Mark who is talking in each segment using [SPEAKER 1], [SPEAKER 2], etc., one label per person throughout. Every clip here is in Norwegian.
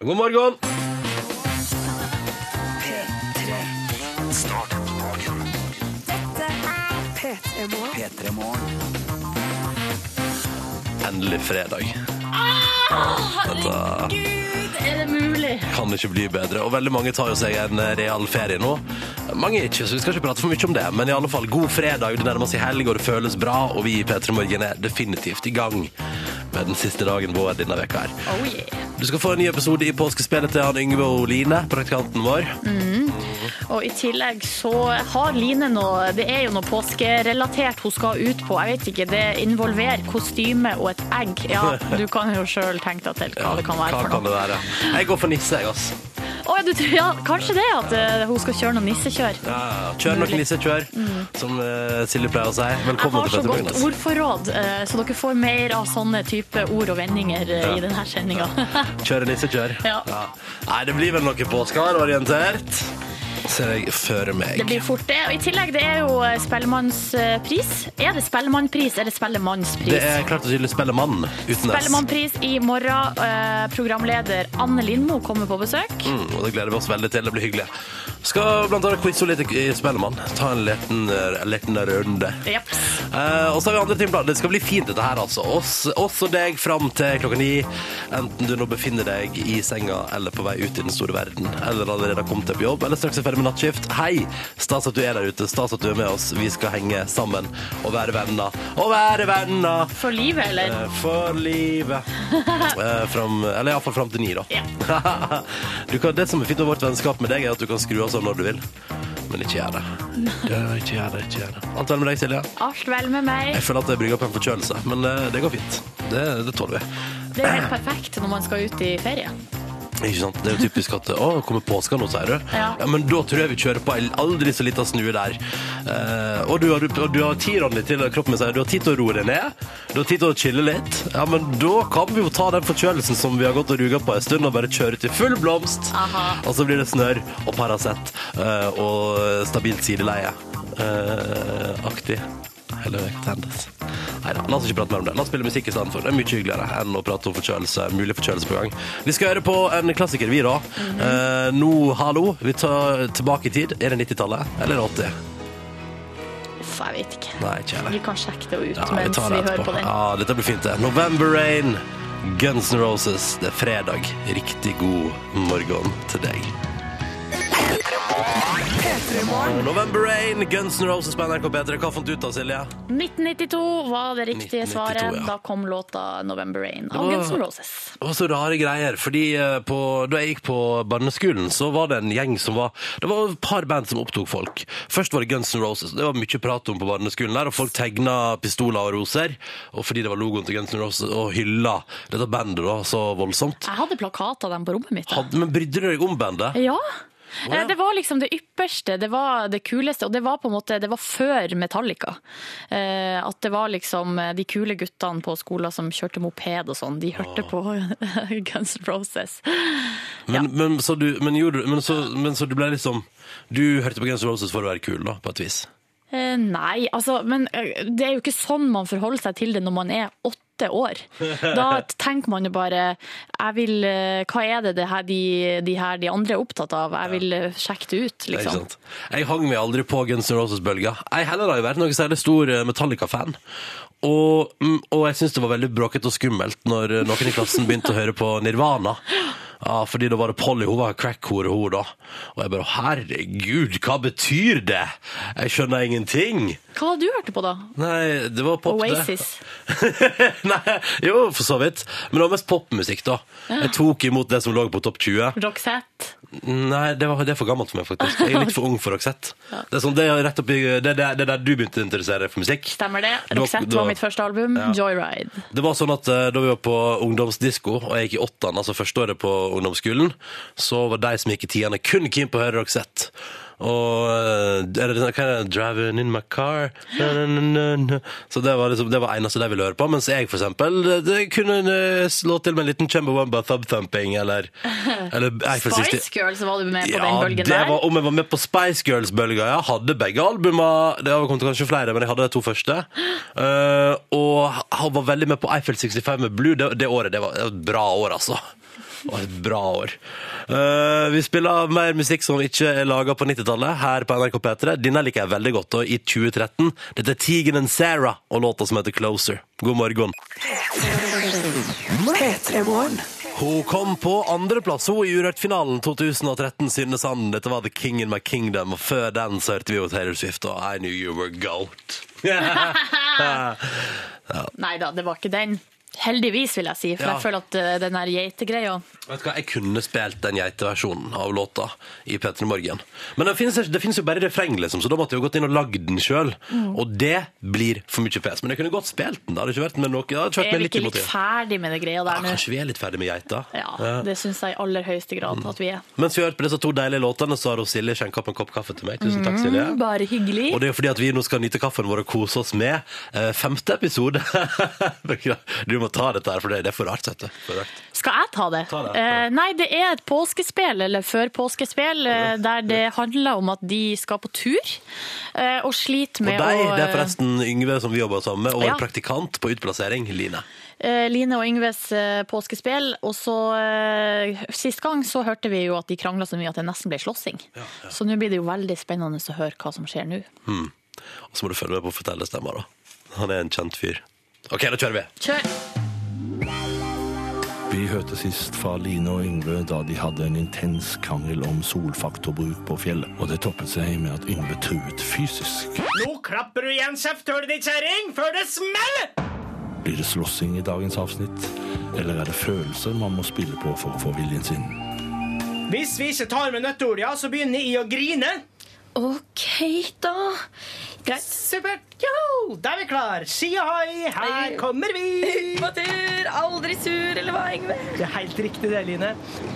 [SPEAKER 1] God morgen! Endelig fredag.
[SPEAKER 2] Herregud, er det mulig?
[SPEAKER 1] Kan ikke bli bedre. Og veldig mange tar jo seg en eh, real ferie nå. Mange ikke, så vi skal ikke prate for mye om det. Men i alle fall, god fredag. Det nærmer seg helg, og det føles bra. Og vi i P3 Morgen er definitivt i gang med den siste dagen vår denne veka her.
[SPEAKER 2] Oh yeah.
[SPEAKER 1] Du skal få en ny episode i påskespillet til han Yngve og Line, praktikanten vår.
[SPEAKER 2] Mm, Og i tillegg så har Line noe Det er jo noe påskerelatert hun skal ut på. Jeg vet ikke, det involverer kostyme og et egg. Ja, du kan jo sjøl tenke deg til hva det kan være
[SPEAKER 1] hva
[SPEAKER 2] for
[SPEAKER 1] kan
[SPEAKER 2] noe.
[SPEAKER 1] det være? Jeg går for nisse, jeg, altså.
[SPEAKER 2] Å, ja, du, tror- ja, kanskje det at eh, hun skal kjøre noe nissekjør.
[SPEAKER 1] Ja, ja, ja. kjør nok nisse, kjør. Som eh, Silje pleier å si.
[SPEAKER 2] Mm. Jeg
[SPEAKER 1] Velkommen
[SPEAKER 2] har
[SPEAKER 1] til
[SPEAKER 2] så
[SPEAKER 1] Petter Morgen.
[SPEAKER 2] godt
[SPEAKER 1] altså.
[SPEAKER 2] ordforråd, eh, så dere får mer av sånne type ord og vendinger eh, i denne sendinga.
[SPEAKER 1] Kjøre nisse, kjør.
[SPEAKER 2] Ja.
[SPEAKER 1] Nei, det blir vel noe påskehard orientert. Ser jeg før meg.
[SPEAKER 2] Det blir fort det. Og i tillegg, det er jo eh, Spellemannspris. Er det Spellemannpris, eller Spellemannspris?
[SPEAKER 1] Det er klart og tydelig Spellemann uten S.
[SPEAKER 2] Spellemannpris i morgen. Eh, programleder Anne Lindmo kommer på besøk.
[SPEAKER 1] Mm, og det gleder vi oss veldig til. Det blir hyggelig. Skal blant annet quize litt i Spellemann. Ta en liten, en liten runde.
[SPEAKER 2] Jeps.
[SPEAKER 1] Eh, og så har vi andre timeplaner. Det skal bli fint, dette her, altså. Oss, oss og deg fram til klokka ni. Enten du nå befinner deg i senga eller på vei ut i den store verden, eller allerede har kommet deg på jobb, eller straks er ferdig med nattskift. Hei! Stas at du er der ute. Stas at du er med oss. Vi skal henge sammen og være venner. Og være venner!
[SPEAKER 2] For livet, eller?
[SPEAKER 1] Eh, For livet. Eh, fram, eller iallfall fram til ni, da.
[SPEAKER 2] Ja.
[SPEAKER 1] du kan, det som er fint med vårt vennskap med deg, er at du kan skru av sånn når du vil. Men ikke gjør det. Ja, ikke gjør det, ikke gjør det. Alt vel med deg, Silje?
[SPEAKER 2] Alt vel med meg.
[SPEAKER 1] Jeg føler at jeg brygger opp en forkjølelse, men eh, det går fint. Det, det tåler vi.
[SPEAKER 2] Det er helt perfekt når man skal ut i ferie.
[SPEAKER 1] Ikke sant? Det er jo typisk at Å, kommer påska nå, sier du?
[SPEAKER 2] Ja.
[SPEAKER 1] Men da tror jeg vi kjører på en aldri så lita snue der. Eh, og, du har, og du har tid, Ronny, til kroppen min sier du har tid til å roe deg ned. Du har tid til å chille litt. Ja, men da kan vi jo ta den forkjølelsen som vi har gått og ruga på en stund, og bare kjøre til full blomst.
[SPEAKER 2] Aha.
[SPEAKER 1] Og så blir det snørr og Paracet eh, og stabilt sideleie. eh, aktig. Hele veka tendes. Neida, la oss ikke prate mer om det. La oss spille musikk i stedet for. Det er mye hyggeligere enn å prate om forkjølelse. Mulig forkjølelse på gang. Vi skal høre på en klassiker, vi, da.
[SPEAKER 2] Mhm.
[SPEAKER 1] Eh, nå, hallo. Vi tar tilbake i tid. Er det 90-tallet eller 80?
[SPEAKER 2] Uff, jeg vet ikke.
[SPEAKER 1] Nei, ikke heller.
[SPEAKER 2] Vi kan sjekke det ut
[SPEAKER 1] Ja, vi
[SPEAKER 2] mens
[SPEAKER 1] tar
[SPEAKER 2] vi
[SPEAKER 1] det
[SPEAKER 2] hører
[SPEAKER 1] etterpå.
[SPEAKER 2] på den.
[SPEAKER 1] Ja, dette blir fint, det. November Rain, Guns N' Roses. Det er fredag. Riktig god morgen til deg. November Rain, Guns N' Roses på NRK P3. Hva fant du ut av, Silje?
[SPEAKER 2] 1992 var det riktige
[SPEAKER 1] 1992,
[SPEAKER 2] svaret.
[SPEAKER 1] ja.
[SPEAKER 2] Da kom låta 'November Rain' av
[SPEAKER 1] var-
[SPEAKER 2] Guns N' Roses.
[SPEAKER 1] Det var så rare greier, fordi eh, på, da jeg gikk på barneskolen, så var det en gjeng som var Det var et par band som opptok folk. Først var det Guns N' Roses. Det var mye prat om på barneskolen der, og folk tegna pistoler og roser. Og fordi det var logoen til Guns N' Roses, og hylla dette bandet da så voldsomt.
[SPEAKER 2] Jeg hadde plakat av dem på rommet mitt. jeg.
[SPEAKER 1] Hadde, men brydde du deg om bandet?
[SPEAKER 2] Ja.
[SPEAKER 1] ja.
[SPEAKER 2] Eh, Det var liksom det ypperste, det var det kuleste, og det var på en måte det var før Metallica. Eh, at det var liksom eh, de kule guttene på skolen som kjørte moped og sånn, de hørte på Guns N' Roses.
[SPEAKER 1] Men, men, så, du, men, gjorde, du- men, så, men så du ble liksom Du hørte på Guns N' Roses for å være kul, da, på et vis?
[SPEAKER 2] Eh, nei, altså, men eh, det er jo ikke sånn man forholder seg til det når man er åtte år. Da tenker man jo bare jeg vil, eh, Hva er det, det her de, de her de andre er opptatt av? Jeg vil eh, sjekke det ut,
[SPEAKER 1] Det er Ikke
[SPEAKER 2] liksom.
[SPEAKER 1] sant? Jeg hang meg aldri på Guns N' Roses-bølga. Jeg heller har jo vært noe særlig stor eh, Metallica-fan. Og, mm, og jeg syns det var veldig bråkete og skummelt når eh, noen i klassen begynte å høre på Nirvana. Ja, fordi da var det Polly, hun var crack-hore, hun da. Og jeg bare herregud, hva betyr det? Jeg skjønner ingenting.
[SPEAKER 2] Hva var det du hørte på, da?
[SPEAKER 1] Nei, det var pop, det.
[SPEAKER 2] Oasis.
[SPEAKER 1] Nei, jo, for så vidt. Men det var mest popmusikk, da. Jeg tok imot det som lå på topp 20.
[SPEAKER 2] Roxette?
[SPEAKER 1] Nei, det, var, det er for gammelt for meg, faktisk. Jeg er litt for ung for Roxette. Det er sånn, det er rett oppi, det, er der- det er der du begynte å interessere deg for musikk.
[SPEAKER 2] Stemmer det.
[SPEAKER 1] Da-
[SPEAKER 2] Roxette
[SPEAKER 1] da-
[SPEAKER 2] var mitt første album. Joyride.
[SPEAKER 1] Det var sånn at eh, Da vi var på ungdomsdisko, og jeg gikk i åttende, altså første året på ungdomsskolen, så var de som gikk i tiende, kun keen på å høre Roxette. Og eh, er det, hva er det? 'Driving in my car' na, na, na, na, na. Så det var liksom, det var eneste de ville høre på. Mens jeg, for eksempel, det, det kunne eh, slå til med en liten Chumbawamba Thub Thumping, eller, eller Eiffel 60
[SPEAKER 2] Spice Girls var du med på den bølgen
[SPEAKER 1] det
[SPEAKER 2] der.
[SPEAKER 1] Var, om jeg var med på Spice Girls-bølga. Jeg hadde begge albuma. Det kom til kanskje flere, men jeg hadde de to første. Eh, og han var veldig med på Eiffel 65 med Blue det, det året. Det var et bra år, altså. Og et bra år. Eh, vi spiller mer musikk som ikke er laga på 90-tallet, her på NRK P3. Denne liker jeg veldig godt, og i 2013. Dette er Tegan and Sarah og låta som heter Closer. God morgen. Hun kom på andreplass hun, i Urørt-finalen 2013, Synne Sand. Dette var The King in My Kingdom, og før den så hørte vi jo Taylor Swift og I Knew You Were Goat.
[SPEAKER 2] Nei da, det var ikke den. Heldigvis, vil jeg si. For
[SPEAKER 1] Ja.
[SPEAKER 2] jeg føler at eh, den der geitegreia
[SPEAKER 1] Vet du hva, Jeg kunne spilt den geiteversjonen av låta i P3 Morgen. Men det finnes, det finnes jo bare refreng, liksom, så da måtte jeg jo gått inn og lagd den sjøl.
[SPEAKER 2] Mm.
[SPEAKER 1] Og det blir for mye pes. Men jeg kunne godt spilt den. Det hadde ikke vært med noe. Det hadde ikke vært
[SPEAKER 2] Er
[SPEAKER 1] med
[SPEAKER 2] vi
[SPEAKER 1] litt
[SPEAKER 2] ikke
[SPEAKER 1] imot
[SPEAKER 2] litt
[SPEAKER 1] det.
[SPEAKER 2] ferdig med det greia
[SPEAKER 1] Ja,
[SPEAKER 2] der nå?
[SPEAKER 1] kanskje vi er litt ferdig med geita.
[SPEAKER 2] Ja, det syns jeg i aller høyeste grad
[SPEAKER 1] Mm.
[SPEAKER 2] at vi er.
[SPEAKER 1] Mens vi hørte på disse to deilige låtene, så har hun Silje skjenka opp en kopp kaffe til meg. Tusen takk, Silje.
[SPEAKER 2] Mm, Bare hyggelig.
[SPEAKER 1] Og det er jo fordi at vi nå skal nyte kaffen vår og kose oss med eh, femte episode. du må ta dette her, for det, det er for rart, vet du. For rart.
[SPEAKER 2] Skal jeg ta det?
[SPEAKER 1] Ta det, ta det.
[SPEAKER 2] Eh, nei, det er et påskespill, eller førpåskespill, eh, der det handler om at de skal på tur eh, og sliter
[SPEAKER 1] Og
[SPEAKER 2] med
[SPEAKER 1] deg,
[SPEAKER 2] å
[SPEAKER 1] det er forresten Yngve som vi jobber sammen med, og
[SPEAKER 2] Ja.
[SPEAKER 1] en praktikant på utplassering, Line.
[SPEAKER 2] eh, Line og Yngves eh, påskespill. Og så eh, Sist gang så hørte vi jo at de krangla så mye at det nesten ble slåssing. Så nå blir det jo veldig spennende å høre hva som skjer nå.
[SPEAKER 1] Og så må du følge med på fortellerstemmer, da. Han er en kjent fyr. OK, da kjører vi.
[SPEAKER 2] Kjør!
[SPEAKER 3] Vi hørte sist fra Line og Yngve da de hadde en intens krangel om solfaktorbruk på fjellet. Og det toppet seg med at Yngve truet fysisk.
[SPEAKER 4] Nå klapper du igjen kjefthullet ditt, kjerring, før det smeller!
[SPEAKER 3] Blir det slåssing i dagens avsnitt? Eller er det følelser man må spille på for å få viljen sin?
[SPEAKER 4] Hvis vi ikke tar med nøtteordet, så begynner jeg å grine.
[SPEAKER 5] OK, da. Greit.
[SPEAKER 4] Supert. Yo, da er vi klar. Si ahoi, her kommer vi.
[SPEAKER 5] På tur, aldri sur, eller hva, Yngve?
[SPEAKER 4] Det er helt riktig det, Line.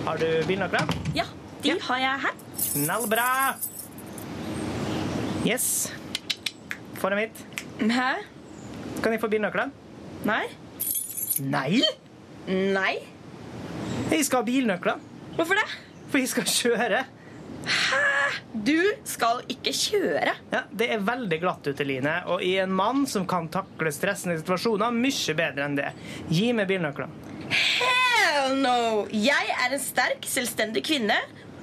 [SPEAKER 4] Har du bilnøkler?
[SPEAKER 5] Ja, de har jeg her.
[SPEAKER 4] Knallbra. Yes. Få dem hit.
[SPEAKER 5] Hæ?
[SPEAKER 4] Kan jeg få bilnøklene?
[SPEAKER 5] Nei?
[SPEAKER 4] Nei.
[SPEAKER 5] Nei?
[SPEAKER 4] Jeg skal ha bilnøklene,
[SPEAKER 5] Hvorfor det?
[SPEAKER 4] for jeg skal kjøre.
[SPEAKER 5] Eh, Du skal ikke kjøre.
[SPEAKER 4] Ja, Det er veldig glatt ute, Line, og jeg er en mann som kan takle stressende situasjoner mye bedre enn det. Gi meg bilnøklene.
[SPEAKER 5] Hell no! Jeg er en sterk, selvstendig kvinne.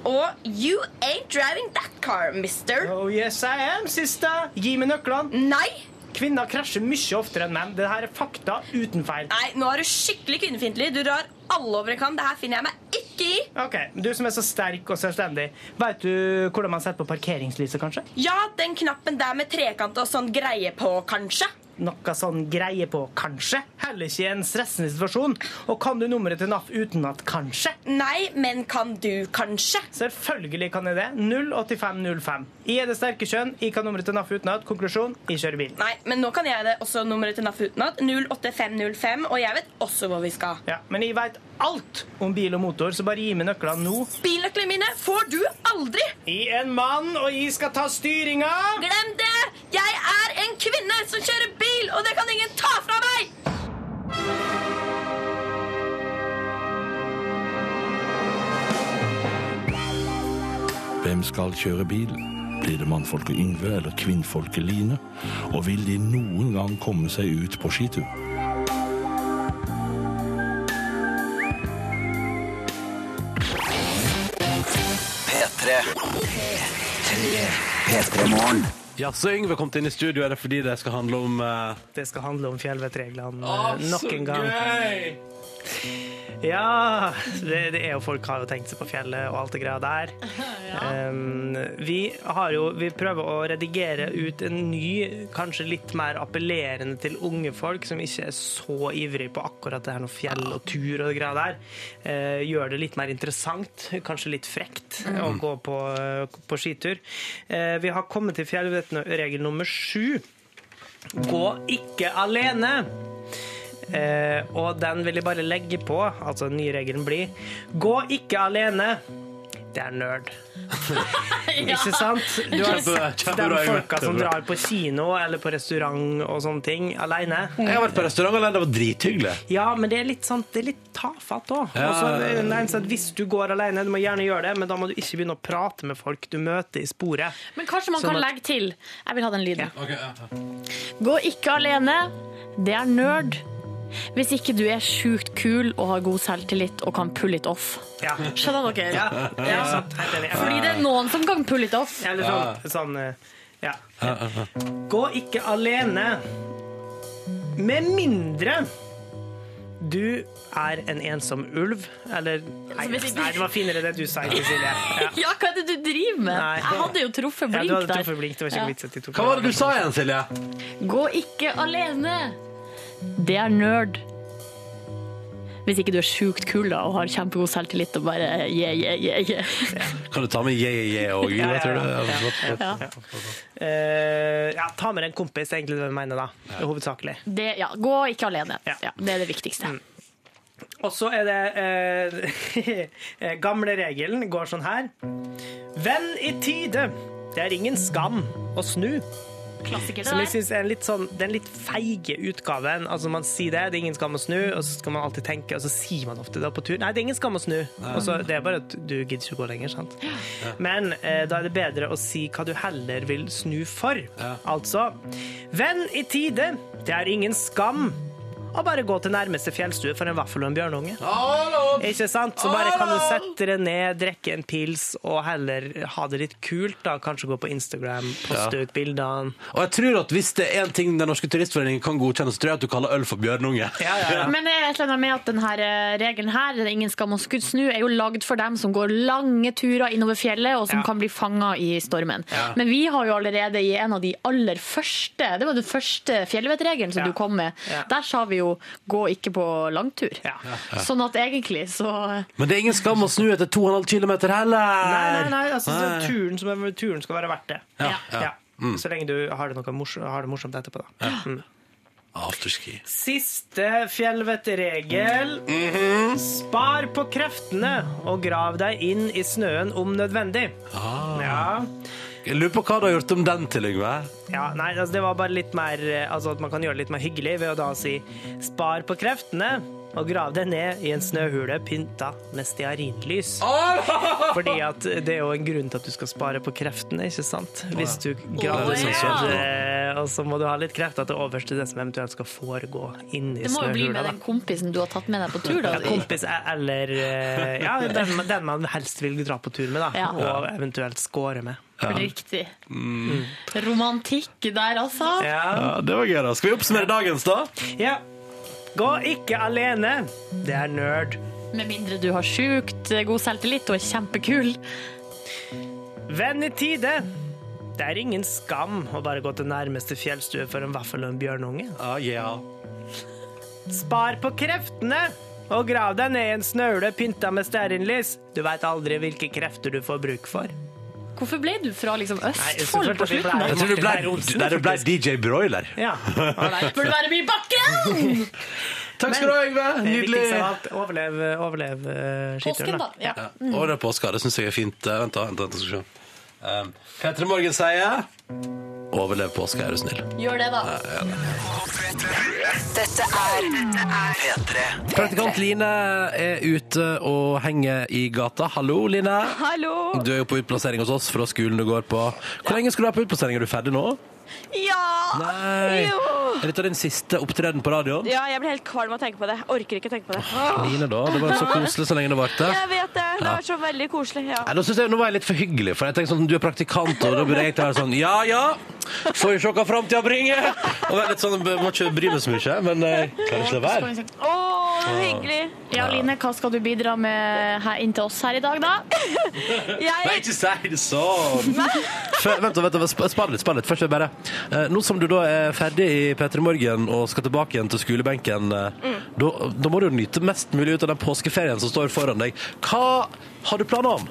[SPEAKER 5] Og you ain't driving that car, mister.
[SPEAKER 4] Oh yes I am, sister. Gi meg nøklene.
[SPEAKER 5] Nei!
[SPEAKER 4] Kvinner krasjer mye oftere enn menn. Det her er fakta uten feil.
[SPEAKER 5] Nei, Nå er du skikkelig kvinnefiendtlig. Du drar alle over en kam. Det her finner jeg meg ikke i.
[SPEAKER 4] Ok, Du som er så sterk og selvstendig, veit du hvordan man setter på parkeringslyset, kanskje?
[SPEAKER 5] Ja, den knappen der med trekant og sånn greie på, kanskje.
[SPEAKER 4] Noe sånn greie på kanskje? Heller ikke i en stressende situasjon. Og kan du nummeret til NAF uten at kanskje?
[SPEAKER 5] Nei, men kan du kanskje?
[SPEAKER 4] Selvfølgelig kan jeg det. 08505. Jeg er det sterke kjønn. Jeg kan nummeret til NAF uten at. Konklusjon jeg kjører bil.
[SPEAKER 5] Nei, men nå kan jeg det også nummeret til NAF utenat. 08505, og jeg vet også hvor vi skal.
[SPEAKER 4] Ja, Men jeg veit alt om bil og motor, så bare gi meg nøklene nå.
[SPEAKER 5] Bilnøklene mine får du aldri!
[SPEAKER 4] Jeg er en mann, og jeg skal ta styringa.
[SPEAKER 5] Glem det! Jeg er en kvinne som kjører bil, og det kan ingen ta fra meg!
[SPEAKER 3] Hvem skal kjøre bil? Blir det mannfolket Yngve eller kvinnfolket Line? Og vil de noen gang komme seg ut på skitur?
[SPEAKER 1] Jaså, Yngve kom inn i studio. Er det fordi det skal handle om eh,
[SPEAKER 4] Det skal handle om fjellvettreglene eh, nok en gang. Ja, det, det er jo folk har jo tenkt seg på fjellet og alt det greia der. Um, vi har jo Vi prøver å redigere ut en ny, kanskje litt mer appellerende til unge folk, som ikke er så ivrig på akkurat det her noe fjell og tur og det greia der. Eh, gjør det litt mer interessant, kanskje litt frekt, eh, å gå på, på skitur. Eh, vi har kommet til fjellvettregel nummer sju. Gå ikke alene! Eh, og den vil jeg bare legge på, altså den nye regelen blir Gå ikke alene! Det er nerd. Ikke sant? Du har
[SPEAKER 1] Kjempe-
[SPEAKER 4] sett
[SPEAKER 1] kjempebra,
[SPEAKER 4] de
[SPEAKER 1] Yngve.
[SPEAKER 4] folka som
[SPEAKER 1] Kjempebra.
[SPEAKER 4] drar på kino eller på restaurant og sånne ting alene.
[SPEAKER 1] Jeg har vært på restaurant alene, det var drithyggelig.
[SPEAKER 4] Ja, men det er litt sånn, det er litt tafatt òg.
[SPEAKER 1] Ja.
[SPEAKER 4] eh, Hvis du går alene, du må gjerne gjøre det, men da må du ikke begynne å prate med folk du møter i sporet.
[SPEAKER 2] Men kanskje man kan
[SPEAKER 4] Sånn at-
[SPEAKER 2] legge til Jeg vil ha den lyden. Gå ikke alene. Det er nerd. hvis ikke du er sjukt kul og har god selvtillit og kan pull it off.
[SPEAKER 4] Ja.
[SPEAKER 2] Skjønner dere?
[SPEAKER 4] ja. det er sant. Helt enig. Jeg
[SPEAKER 2] Fordi det er noen som kan pull it off.
[SPEAKER 4] Eller sånn, sånn eh, ja. Gå ikke alene. Med mindre du er en ensom ulv, eller Nei, altså,
[SPEAKER 2] Så hvis ikke-
[SPEAKER 4] nei det var finere det du sa, ikke Silje. Ja.
[SPEAKER 2] Ja, hva er det du driver med?
[SPEAKER 4] Nei.
[SPEAKER 2] Jeg hadde jo truffet
[SPEAKER 4] Ja,
[SPEAKER 2] blink
[SPEAKER 4] du hadde
[SPEAKER 2] der.
[SPEAKER 4] truffet blink. Det var ikke
[SPEAKER 2] Ja.
[SPEAKER 4] noe vits at de tok
[SPEAKER 1] Hva var det du sa igjen, Silje?
[SPEAKER 2] Gå ikke alene! Det er nerd. Hvis ikke du er sjukt kul da, og har kjempegod selvtillit og bare yeah, yeah, yeah, yeah.
[SPEAKER 1] Kan du ta med yeah, yeah, yeah og
[SPEAKER 4] Ja, ja, ja.
[SPEAKER 1] tror du? Ja, flott.
[SPEAKER 4] Eh, ja, ta med deg en kompis, det er egentlig det vi mener, da. Hovedsakelig.
[SPEAKER 2] Det, ja, gå ikke alene.
[SPEAKER 4] Ja.
[SPEAKER 2] Ja, det er det viktigste.
[SPEAKER 4] Og så er det eh, Gamle regelen går sånn her. Venn i tide. Det er ingen skam å snu.
[SPEAKER 2] Klassiker
[SPEAKER 4] Som
[SPEAKER 2] det
[SPEAKER 4] jeg
[SPEAKER 2] der.
[SPEAKER 4] synes er en litt sånn Den litt feige utgaven. Altså Man sier det, det er ingen skam å snu, og så skal man alltid tenke, og så sier man ofte det på tur. Nei, det er ingen skam å snu. Og så Det er bare at du gidder ikke å gå lenger, sant. Men eh, da er det bedre å si hva du heller vil snu for. Altså Venn i tide, det er ingen skam å bare gå til nærmeste fjellstue for en vaffel og en bjørnunge. Ikke sant? Så bare kan du sette deg ned, drikke en pils og heller ha det litt kult. da Kanskje gå på Instagram, poste ut bildene.
[SPEAKER 1] Og jeg tror at hvis det er en ting Den norske turistforeningen kan godkjenne, så tror jeg at du kaller øl for bjørnunge.
[SPEAKER 4] Ja, ja, ja.
[SPEAKER 2] Men det er et eller annet med at denne eh, regelen her, det er ingen skam å skudd snu, er jo lagd for dem som går lange turer innover fjellet, og som
[SPEAKER 4] Ja.
[SPEAKER 2] kan bli fanga i stormen. Men vi har jo allerede i en av de aller første, det var den første fjellvettregelen som
[SPEAKER 4] Ja.
[SPEAKER 2] du kom med,
[SPEAKER 4] Ja.
[SPEAKER 2] der sa vi jo gå ikke på langtur.
[SPEAKER 4] Ja.
[SPEAKER 2] Sånn at egentlig så eh,
[SPEAKER 1] Men det er ingen skam å snu etter 2,5 km heller!
[SPEAKER 4] Nei, nei, nei. Altså,
[SPEAKER 1] Nei.
[SPEAKER 4] så turen, som er, turen skal være verdt det.
[SPEAKER 2] Ja,
[SPEAKER 1] ja. Mm.
[SPEAKER 4] Så lenge du har det, noe morsomt, har det morsomt etterpå, da. Mm.
[SPEAKER 1] Afterski.
[SPEAKER 4] Siste fjellvettregel.
[SPEAKER 1] Mm-hmm.
[SPEAKER 4] Spar på kreftene og grav deg inn i snøen om nødvendig.
[SPEAKER 1] Ah.
[SPEAKER 4] Ja.
[SPEAKER 1] Jeg lurer på hva du har gjort om den til, Yngve.
[SPEAKER 4] Ja, nei, altså det var bare litt mer eh, Altså at man kan gjøre det litt mer hyggelig ved å da si spar på kreftene og grav deg ned i en snøhule pynta med stearinlys. Fordi at det er jo en grunn til at du skal spare på kreftene, ikke sant? Hvis du graver
[SPEAKER 2] Å,
[SPEAKER 4] deg
[SPEAKER 2] ja.
[SPEAKER 4] ned, eh, og så må du ha litt krefter til overs til det som eventuelt skal foregå inni
[SPEAKER 2] Det må jo bli med
[SPEAKER 4] snøhula. da.
[SPEAKER 2] den kompisen du har tatt med deg på tur, da.
[SPEAKER 4] Ja, kompis e- eller eh, ja, den, den man helst vil dra på tur med, da.
[SPEAKER 2] Ja.
[SPEAKER 4] Og eventuelt score med.
[SPEAKER 2] Riktig. Romantikk der, altså.
[SPEAKER 4] Mm. Ja.
[SPEAKER 1] Ja, det var gøy, da. Skal vi oppsummere dagens, da?
[SPEAKER 4] Ja. Gå ikke alene. Det er nerd.
[SPEAKER 2] Med mindre du har sjukt eh, god selvtillit og er kjempekul.
[SPEAKER 4] Venn i tide. Det er ingen skam å bare gå til nærmeste fjellstue for en vaffel og en bjørnunge.
[SPEAKER 1] Ja, yeah.
[SPEAKER 4] Spar på kreftene og grav deg ned i en snøle pynta med stearinlys. Du veit aldri hvilke krefter du får bruk for.
[SPEAKER 2] Hvorfor ble du fra liksom Østfold
[SPEAKER 4] Nei,
[SPEAKER 2] på
[SPEAKER 4] selvfølgelig
[SPEAKER 2] slutten?
[SPEAKER 4] ble
[SPEAKER 1] Jeg
[SPEAKER 2] der?
[SPEAKER 1] tror det ble,
[SPEAKER 4] Martin Beyer Olsen,
[SPEAKER 1] nei, det ble DJ Broiler.
[SPEAKER 4] Ja.
[SPEAKER 2] Burde være mye bakken!
[SPEAKER 1] Takk skal du ha, Yngve.
[SPEAKER 4] Det
[SPEAKER 1] Nydelig.
[SPEAKER 4] viktigste av alt, overlev, overlev eh,
[SPEAKER 2] Påsken,
[SPEAKER 4] skituren.
[SPEAKER 2] da.
[SPEAKER 4] da.
[SPEAKER 2] Ja.
[SPEAKER 1] Ja. Og Mm. det er påske, det syns jeg er fint. Eh, Vent, da. vent, vent, skal vi se. Um, Petre Morgen sier Overlev påska, er du snill.
[SPEAKER 2] Gjør det, da.
[SPEAKER 6] Dette er P3.
[SPEAKER 1] Praktikant Line er ute og henger i gata. Hallo, Line.
[SPEAKER 5] Hallo!
[SPEAKER 1] Du er jo på utplassering hos oss fra skolen du går på. Hvor lenge skal du være på utplassering? Er du ferdig nå?
[SPEAKER 5] Ja!
[SPEAKER 1] Nei.
[SPEAKER 5] Jo.
[SPEAKER 1] Er dette din siste opptreden på radioen?
[SPEAKER 5] Ja, jeg blir helt kvalm av å tenke på det. Jeg Orker ikke å tenke på det.
[SPEAKER 1] Line, da. Det var så koselig så lenge det varte.
[SPEAKER 5] Jeg vet det. Det var så veldig koselig. Ja.
[SPEAKER 1] Nei, nå, synes jeg, nå var jeg litt for hyggelig, for jeg tenkte sånn, du er praktikant, og da burde jeg egentlig være sånn, ja, ja, får vi se hva fremtiden bringer. Og være litt sånn, jeg må ikke bry meg så mye, men jeg klarer ikke å la være.
[SPEAKER 5] Å, det var hyggelig.
[SPEAKER 2] Ja, Line, hva skal du bidra med her, inn til oss her i dag, da?
[SPEAKER 1] Nei,
[SPEAKER 5] Jeg
[SPEAKER 1] ikke si det sånn! Før, vent, da, vent, da, sp- spar litt, spar litt. Først vil jeg bare eh, Nå som du da er ferdig i P3 Morgen og skal tilbake igjen til skolebenken, eh, da, da må du jo nyte mest mulig ut av den påskeferien som står foran deg. Hva har du planer om?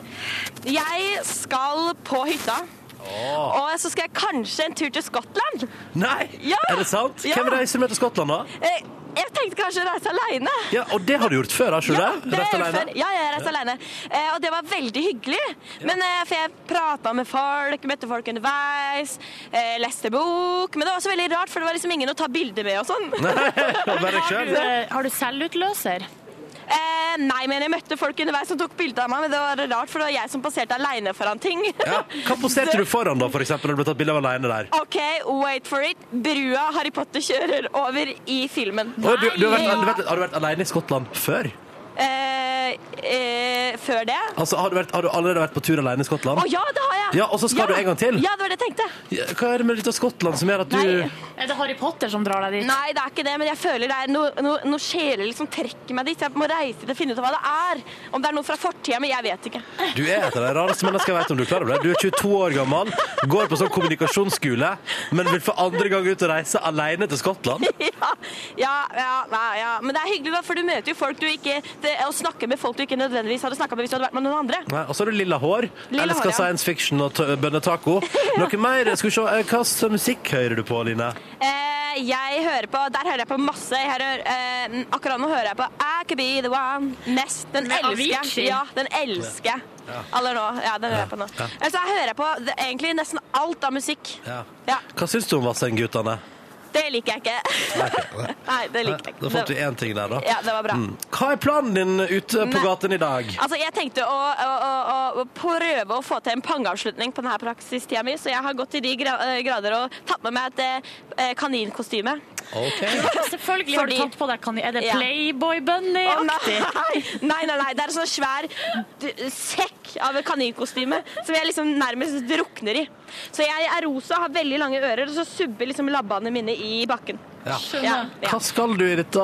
[SPEAKER 5] Jeg skal på hytta. Og så skal jeg kanskje en tur til Skottland.
[SPEAKER 1] Nei,
[SPEAKER 5] Ja!
[SPEAKER 1] er det sant?
[SPEAKER 5] Ja!
[SPEAKER 1] Hvem reiser med til Skottland, da?
[SPEAKER 5] Eh, Jeg tenkte kanskje reise aleine.
[SPEAKER 1] Ja, og det har du gjort før, har ikke du
[SPEAKER 5] Ja,
[SPEAKER 1] det?
[SPEAKER 5] det
[SPEAKER 1] Reist
[SPEAKER 5] har jeg gjort
[SPEAKER 1] alene?
[SPEAKER 5] før. ja, jeg reiste alene. Eh, og det var veldig hyggelig. Men, eh, for jeg prata med folk, møtte folk underveis, eh, leste bok. Men det var også veldig rart, for det var liksom ingen å ta bilder med og sånn.
[SPEAKER 1] Nei, bare deg
[SPEAKER 2] Eh, Har
[SPEAKER 1] selv.
[SPEAKER 2] du, har du selvutløser?
[SPEAKER 5] Eh, nei, men jeg møtte folk underveis som tok bilde av meg, men det var rart, for det var jeg som passerte aleine foran ting.
[SPEAKER 1] Ja. Hva poserte du foran, da, for eksempel, når du ble tatt bilde av alene der?
[SPEAKER 5] OK, wait for it. Brua Harry Potter kjører over i filmen.
[SPEAKER 1] Å, du, du har, vært, du vet, har du vært alene i Skottland før?
[SPEAKER 5] Eh, eh, før det
[SPEAKER 1] Altså, har du, vært, har du allerede vært på tur alene i
[SPEAKER 5] Å
[SPEAKER 1] Skottland?
[SPEAKER 5] ja, det har jeg!
[SPEAKER 1] Ja, og så skal du en gang til.
[SPEAKER 5] Ja, det var det jeg tenkte.
[SPEAKER 1] Ja, Hva er det med litt av Skottland som gjør at du
[SPEAKER 5] Nei.
[SPEAKER 2] Er det Harry Potter som drar deg dit?
[SPEAKER 5] Nei, det er ikke det, men jeg føler det er noe no, noe sjeler som trekker meg dit. Jeg må reise dit og finne ut av hva det er. Om det er noe fra fortida, men jeg vet ikke.
[SPEAKER 1] Du er et av de rareste menneskene jeg vet om du klarer det. Du er 22 år gammel, går på sånn kommunikasjonsskole, men vil for andre gang ut og reise alene til Skottland.
[SPEAKER 5] Ja, ja, ja, nei, ja. Men det er hyggelig, da, for du møter jo folk du ikke det, Å snakke med folk du ikke nødvendigvis hadde snakka med hvis du hadde vært med noen andre.
[SPEAKER 1] Nei, og så har du lilla hår.
[SPEAKER 5] Lilla
[SPEAKER 1] elsker
[SPEAKER 5] hår, ja.
[SPEAKER 1] science fiction og t- bønnetaco. Noe mer? Skal vi se, eh, hva slags musikk hører du på, Line?
[SPEAKER 5] Eh, jeg hører på Der hører jeg på masse. Jeg hører, eh, akkurat nå hører jeg på I Could Be The One mest. Den
[SPEAKER 2] Med
[SPEAKER 5] elsker jeg.
[SPEAKER 2] Avicii.
[SPEAKER 5] Ja, den elsker jeg. Eller nå. Ja, den hører jeg på nå.
[SPEAKER 1] Ja.
[SPEAKER 5] Altså, jeg hører på det, egentlig nesten alt av musikk.
[SPEAKER 1] Ja.
[SPEAKER 5] Ja,
[SPEAKER 1] Hva syns du om Vassendguttene?
[SPEAKER 5] Det liker jeg ikke. Nei, det liker jeg
[SPEAKER 1] Da
[SPEAKER 5] ikke.
[SPEAKER 1] fant vi
[SPEAKER 5] Det-
[SPEAKER 1] én ting der, da.
[SPEAKER 5] Ja, det var bra.
[SPEAKER 1] Mm. Hva er planen din ute på
[SPEAKER 5] Nei.
[SPEAKER 1] gaten i dag?
[SPEAKER 5] Altså, jeg tenkte å, å, å, å prøve å få til en pangeavslutning på denne praksistida mi, så jeg har gått til de gra eh, grader og tatt med meg et eh, kaninkostyme.
[SPEAKER 1] Ok.
[SPEAKER 2] Selvfølgelig har du
[SPEAKER 5] Fordi-
[SPEAKER 2] tatt på deg kanin. Er det
[SPEAKER 5] Ja.
[SPEAKER 2] Playboy
[SPEAKER 5] Å,
[SPEAKER 2] Bunny-aktig?
[SPEAKER 5] nei. nei, nei, nei. Det er en sånn svær d- sekk av et kaninkostyme som jeg liksom nærmest drukner i. Så jeg er rosa, har veldig lange ører, og så subber liksom labbene mine i bakken.
[SPEAKER 1] Ja.
[SPEAKER 5] Ja, ja.
[SPEAKER 1] Hva skal du i dette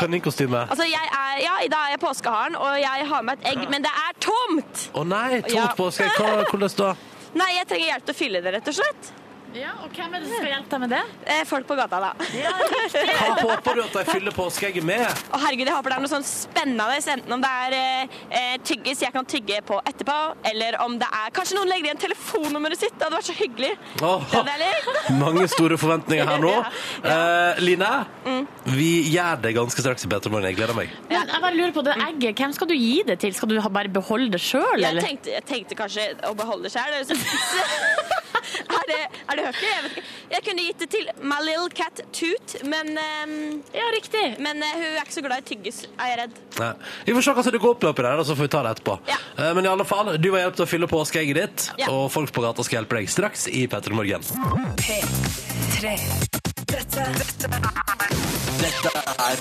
[SPEAKER 1] kaninkostymet?
[SPEAKER 5] Altså, jeg er, ja, I dag er jeg påskeharen, og jeg har med et egg, men det er tomt!
[SPEAKER 1] Å nei,
[SPEAKER 5] Ja.
[SPEAKER 1] tomt påske. Hva- Hvordan da?
[SPEAKER 5] Nei, jeg trenger hjelp til å fylle det, rett og slett.
[SPEAKER 2] Ja, og hvem er det som skal hjelpe deg med det?
[SPEAKER 5] Eh, Folk på gata, da.
[SPEAKER 1] Hva håper du at de fyller påskeegget med?
[SPEAKER 5] Å herregud, jeg håper det er noe sånn spennende, enten om det er eh, eh, tyggis jeg kan tygge på etterpå, eller om det er Kanskje noen legger igjen telefonnummeret sitt? Det hadde vært så hyggelig.
[SPEAKER 1] Åh.
[SPEAKER 5] Det hadde jeg likt.
[SPEAKER 1] Mange store forventninger her nå.
[SPEAKER 5] Ja,
[SPEAKER 1] Eh, Line, vi gjør det ganske straks i Petter Morgen. Jeg gleder meg.
[SPEAKER 2] Men jeg bare lurer på det egget. Hvem skal du gi det til? Skal du ha- bare beholde det sjøl,
[SPEAKER 5] Jeg
[SPEAKER 2] eller?
[SPEAKER 5] tenkte, jeg tenkte kanskje å beholde det sjøl. Er det, er det høflig? Jeg, vet ikke. jeg kunne gitt det til my little cat Toot, men, ehm,
[SPEAKER 2] Ja, riktig.
[SPEAKER 5] men eh, hun er ikke så glad i tyggis, er jeg redd.
[SPEAKER 1] Nei. Vi får se hva som dukker opp, oppi der, og så får vi ta det etterpå.
[SPEAKER 5] Ja.
[SPEAKER 1] Eh, Men i alle fall, du har hjulpet til å fylle påskeegget ditt,
[SPEAKER 5] Ja.
[SPEAKER 1] og folk på gata skal hjelpe deg straks i Petter Morgen.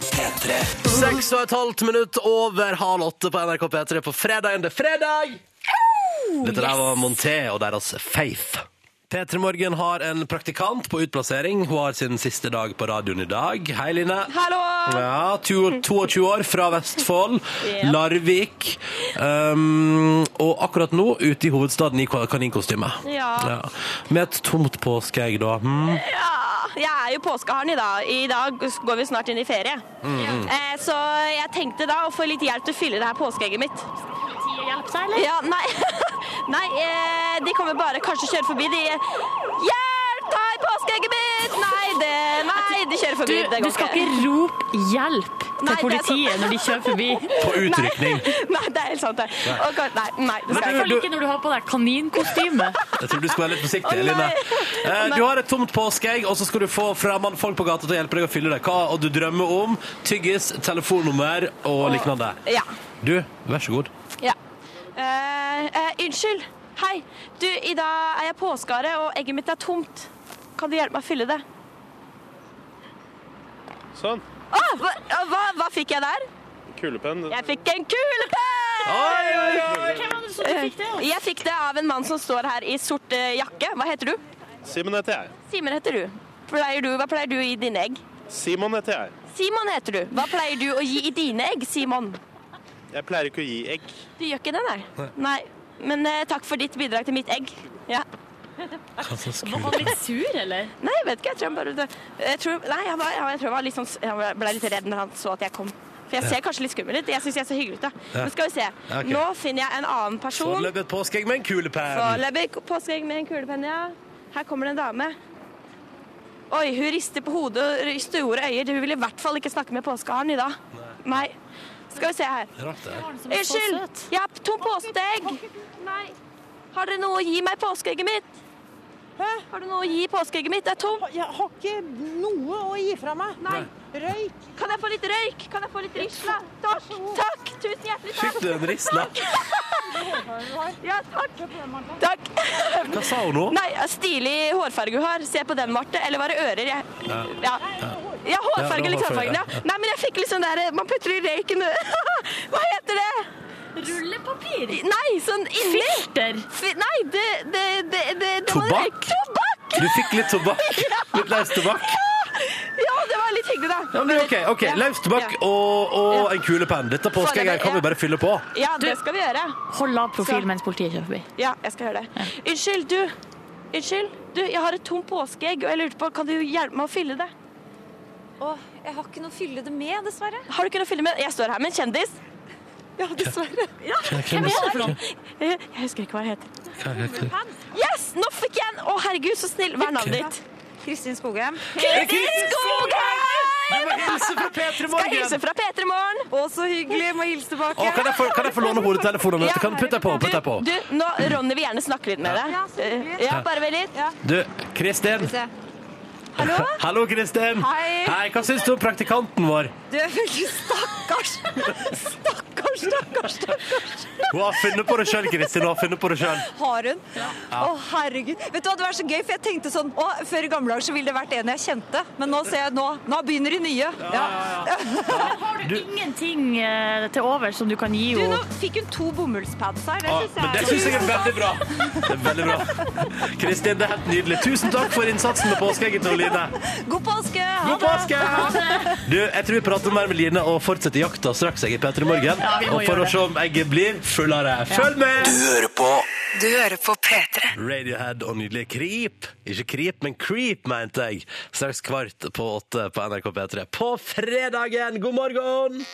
[SPEAKER 1] Seks og et halvt minutt over halv åtte på NRK P3 på fredagen. Det er fredag! Dette der var Monté og deres Faith. P3 Morgen har en praktikant på utplassering. Hun har sin siste dag på radioen i dag. Hei, Line.
[SPEAKER 5] Hallo!
[SPEAKER 1] Ja, to- 22 år fra Vestfold,
[SPEAKER 5] Ja.
[SPEAKER 1] Larvik. Um, og akkurat nå ute i hovedstaden i kaninkostyme.
[SPEAKER 5] Ja.
[SPEAKER 1] Med et tomt påskeegg, da. Hmm.
[SPEAKER 5] Ja, jeg er jo påskeharen i dag. I dag går vi snart inn i ferie. Eh, så jeg tenkte da å få litt hjelp til å fylle det her påskeegget mitt.
[SPEAKER 2] Hjelp deg, eller?
[SPEAKER 5] Ja, nei Nei, eh, de kommer bare kanskje kjøre forbi. De Hjelp! Ta i påskeegget mitt! Nei, det, nei, de kjører
[SPEAKER 2] Du,
[SPEAKER 5] forbi. det
[SPEAKER 2] du
[SPEAKER 5] går
[SPEAKER 2] skal ikke rope 'hjelp' til
[SPEAKER 5] Nei, det er
[SPEAKER 2] politiet
[SPEAKER 5] sant.
[SPEAKER 2] når de kjører forbi.
[SPEAKER 1] På utrykning.
[SPEAKER 5] Nei, det er helt sant. det. Og, kan- nei, nei, det
[SPEAKER 2] I
[SPEAKER 5] skal
[SPEAKER 2] hvert
[SPEAKER 5] jeg
[SPEAKER 2] fall
[SPEAKER 1] du-
[SPEAKER 2] ikke når du har på deg kaninkostyme.
[SPEAKER 1] Jeg tror du skal være litt forsiktig,
[SPEAKER 5] Å, nei.
[SPEAKER 1] Line. Eh,
[SPEAKER 5] Å, nei.
[SPEAKER 1] Du har et tomt påskeegg, og så skal du få fremmedfolk på gata til å hjelpe deg å fylle det. Hva og du drømmer om? Tyggis, telefonnummer og lignende.
[SPEAKER 5] ikke. Ja.
[SPEAKER 1] Du, vær så god.
[SPEAKER 5] ja. Eh, eh, unnskyld. Hei. Du, i dag er jeg påskehare, og egget mitt er tomt. Kan du hjelpe meg å fylle det?
[SPEAKER 7] Sånn.
[SPEAKER 5] Å, hva, hva, hva fikk jeg der?
[SPEAKER 7] Kulepenn.
[SPEAKER 5] Jeg fikk en kulepenn! Eh,
[SPEAKER 1] Oi, oi, oi!
[SPEAKER 5] Jeg fikk det av en mann som står her i sort eh, jakke. Hva heter du?
[SPEAKER 7] Simen heter jeg.
[SPEAKER 5] Simen heter du. Pleier du. Hva pleier du å gi dine egg?
[SPEAKER 7] Simon heter jeg.
[SPEAKER 5] Simon heter du. Hva pleier du å gi i dine egg, Simon?
[SPEAKER 7] Jeg pleier ikke å gi egg.
[SPEAKER 5] Du gjør ikke det, nei? Nei. Men eh, takk for ditt bidrag til mitt egg. Ja.
[SPEAKER 1] Hva slags
[SPEAKER 2] Var
[SPEAKER 1] kul-
[SPEAKER 2] han litt sur, eller?
[SPEAKER 5] Nei, jeg vet ikke. Jeg tror han bare jeg tror, Nei, han, var, han- jeg tror han, var litt sånn, han ble litt redd når han så at jeg kom. For jeg ser kanskje litt skummel ut. Jeg syns jeg er så hyggelig ut, da. Men skal vi se.
[SPEAKER 1] ok.
[SPEAKER 5] Nå finner jeg en annen person.
[SPEAKER 1] Foreløpig et påskeegg med en kulepenn.
[SPEAKER 5] Foreløpig påskeegg med en kulepenn, ja. Her kommer det en dame. Oi, hun rister på hodet og rister store øyer. Hun vil i hvert fall ikke snakke med påskeharen i dag. Nei. Skal vi se her.
[SPEAKER 1] Rart det. her.
[SPEAKER 2] Som er så
[SPEAKER 5] Unnskyld!
[SPEAKER 2] søt.
[SPEAKER 5] Jeg har tom påskeegg! Nei. Har dere noe å gi meg påskeegget mitt? Hæ? Har du noe å gi påskeegget mitt? Det er tomt.
[SPEAKER 8] Jeg har ikke noe å gi fra meg.
[SPEAKER 5] Nei.
[SPEAKER 8] Røyk.
[SPEAKER 5] Kan jeg få litt røyk? Kan jeg få litt risla? Takk, takk. Tusen hjertelig
[SPEAKER 1] Fikk
[SPEAKER 5] takk.
[SPEAKER 1] du en risla?
[SPEAKER 5] Ja, takk. Takk.
[SPEAKER 1] Hva sa hun nå?
[SPEAKER 5] Nei, stilig hårfarge hun har. Se på den, Marte. Eller var det ører? Jeg. Ja. ja, hårfarge
[SPEAKER 1] Ja, det
[SPEAKER 5] eller
[SPEAKER 1] var hårfarge,
[SPEAKER 5] hårfargen, ja.
[SPEAKER 1] ja.
[SPEAKER 5] Nei, men jeg fikk liksom der Man putter i røyken Hva heter det?
[SPEAKER 2] Rullepapir!
[SPEAKER 5] Nei, sånn inni.
[SPEAKER 2] Filter!
[SPEAKER 5] Fi- Nei, det, det, det, det, det var
[SPEAKER 1] Tobakk?
[SPEAKER 5] røyk. Tobakk!
[SPEAKER 1] Du fikk litt tobakk? Litt løs tobakk?
[SPEAKER 5] Ja, det var litt hyggelig, da.
[SPEAKER 1] Ja, men det er OK. ok, Løs tobakk og, og en kulepenn. Dette påskeegget kan vi bare fylle på.
[SPEAKER 5] Ja, det skal vi gjøre.
[SPEAKER 2] Hold lav
[SPEAKER 5] Så-
[SPEAKER 2] profil mens politiet kjører forbi.
[SPEAKER 5] Ja, jeg skal gjøre det. Unnskyld, du. Unnskyld. Du, jeg har et tomt påskeegg, og jeg lurte på, kan du hjelpe meg å fylle det?
[SPEAKER 9] Åh, jeg har ikke noe å fylle det med, dessverre.
[SPEAKER 5] Har du ikke noe å fylle med? Jeg står her med en kjendis. Ja, dessverre. Ja,
[SPEAKER 1] Hvem er det for noe?
[SPEAKER 5] Jeg husker ikke hva han heter. Yes, nå fikk jeg en! Å, herregud, så snill. Hva er navnet ditt?
[SPEAKER 9] Kristin Skogheim.
[SPEAKER 5] Kristin Skogheim!
[SPEAKER 1] Jeg må hilse fra P3
[SPEAKER 5] Skal hilse fra P3 Morgen.
[SPEAKER 9] Å, så hyggelig. Må hilse tilbake.
[SPEAKER 1] Å, kan, jeg få, kan jeg få låne hodetelefonen?
[SPEAKER 5] Ja.
[SPEAKER 1] Ja, kan putte deg på, putt deg på.
[SPEAKER 5] Du, nå, Ronny vil gjerne snakke litt med
[SPEAKER 9] Ja, så
[SPEAKER 5] deg. Eh,
[SPEAKER 9] hyggelig.
[SPEAKER 5] Ja, bare vent litt.
[SPEAKER 1] Du, Kristin.
[SPEAKER 9] Se.
[SPEAKER 1] Hallo? Kristin.
[SPEAKER 9] Hei.
[SPEAKER 1] Hei, hva syns du om praktikanten vår?
[SPEAKER 9] Du er veldig stakkars. Stakkars, stakkars, stakkars.
[SPEAKER 1] Hun har funnet på det sjøl, Kristin. Hun har funnet på det sjøl.
[SPEAKER 9] Har hun? Å, herregud. Vet du hva, det var så gøy, for jeg tenkte sånn Å, før i gamle dager så ville det vært en jeg kjente, men nå ser jeg nå. Nå begynner de nye. Ja.
[SPEAKER 2] Har du ingenting eh, til over som du kan gi
[SPEAKER 9] Du, nå
[SPEAKER 2] henne?
[SPEAKER 9] fikk hun to bomullspads her. Det
[SPEAKER 1] Ja,
[SPEAKER 9] syns
[SPEAKER 1] men det
[SPEAKER 9] jeg
[SPEAKER 1] syns jeg er veldig bra. Det er veldig bra. Kristin, det er helt nydelig. Tusen takk for innsatsen med påskeegget til Line.
[SPEAKER 9] God påske! Ha
[SPEAKER 1] God
[SPEAKER 9] det.
[SPEAKER 1] påske! Du, jeg tror vi prater mer med Line og fortsetter jakta straks jeg er i P3 Morgen.
[SPEAKER 2] vi må
[SPEAKER 1] og for
[SPEAKER 2] gjøre
[SPEAKER 1] å se om egget blir fullere. Følg med!
[SPEAKER 10] Du hører på P3.
[SPEAKER 1] Radiohead og nydelige Creep. Ikke Creep, men Creep, mente jeg. Straks kvart på åtte på NRK P3 på fredagen. God morgen!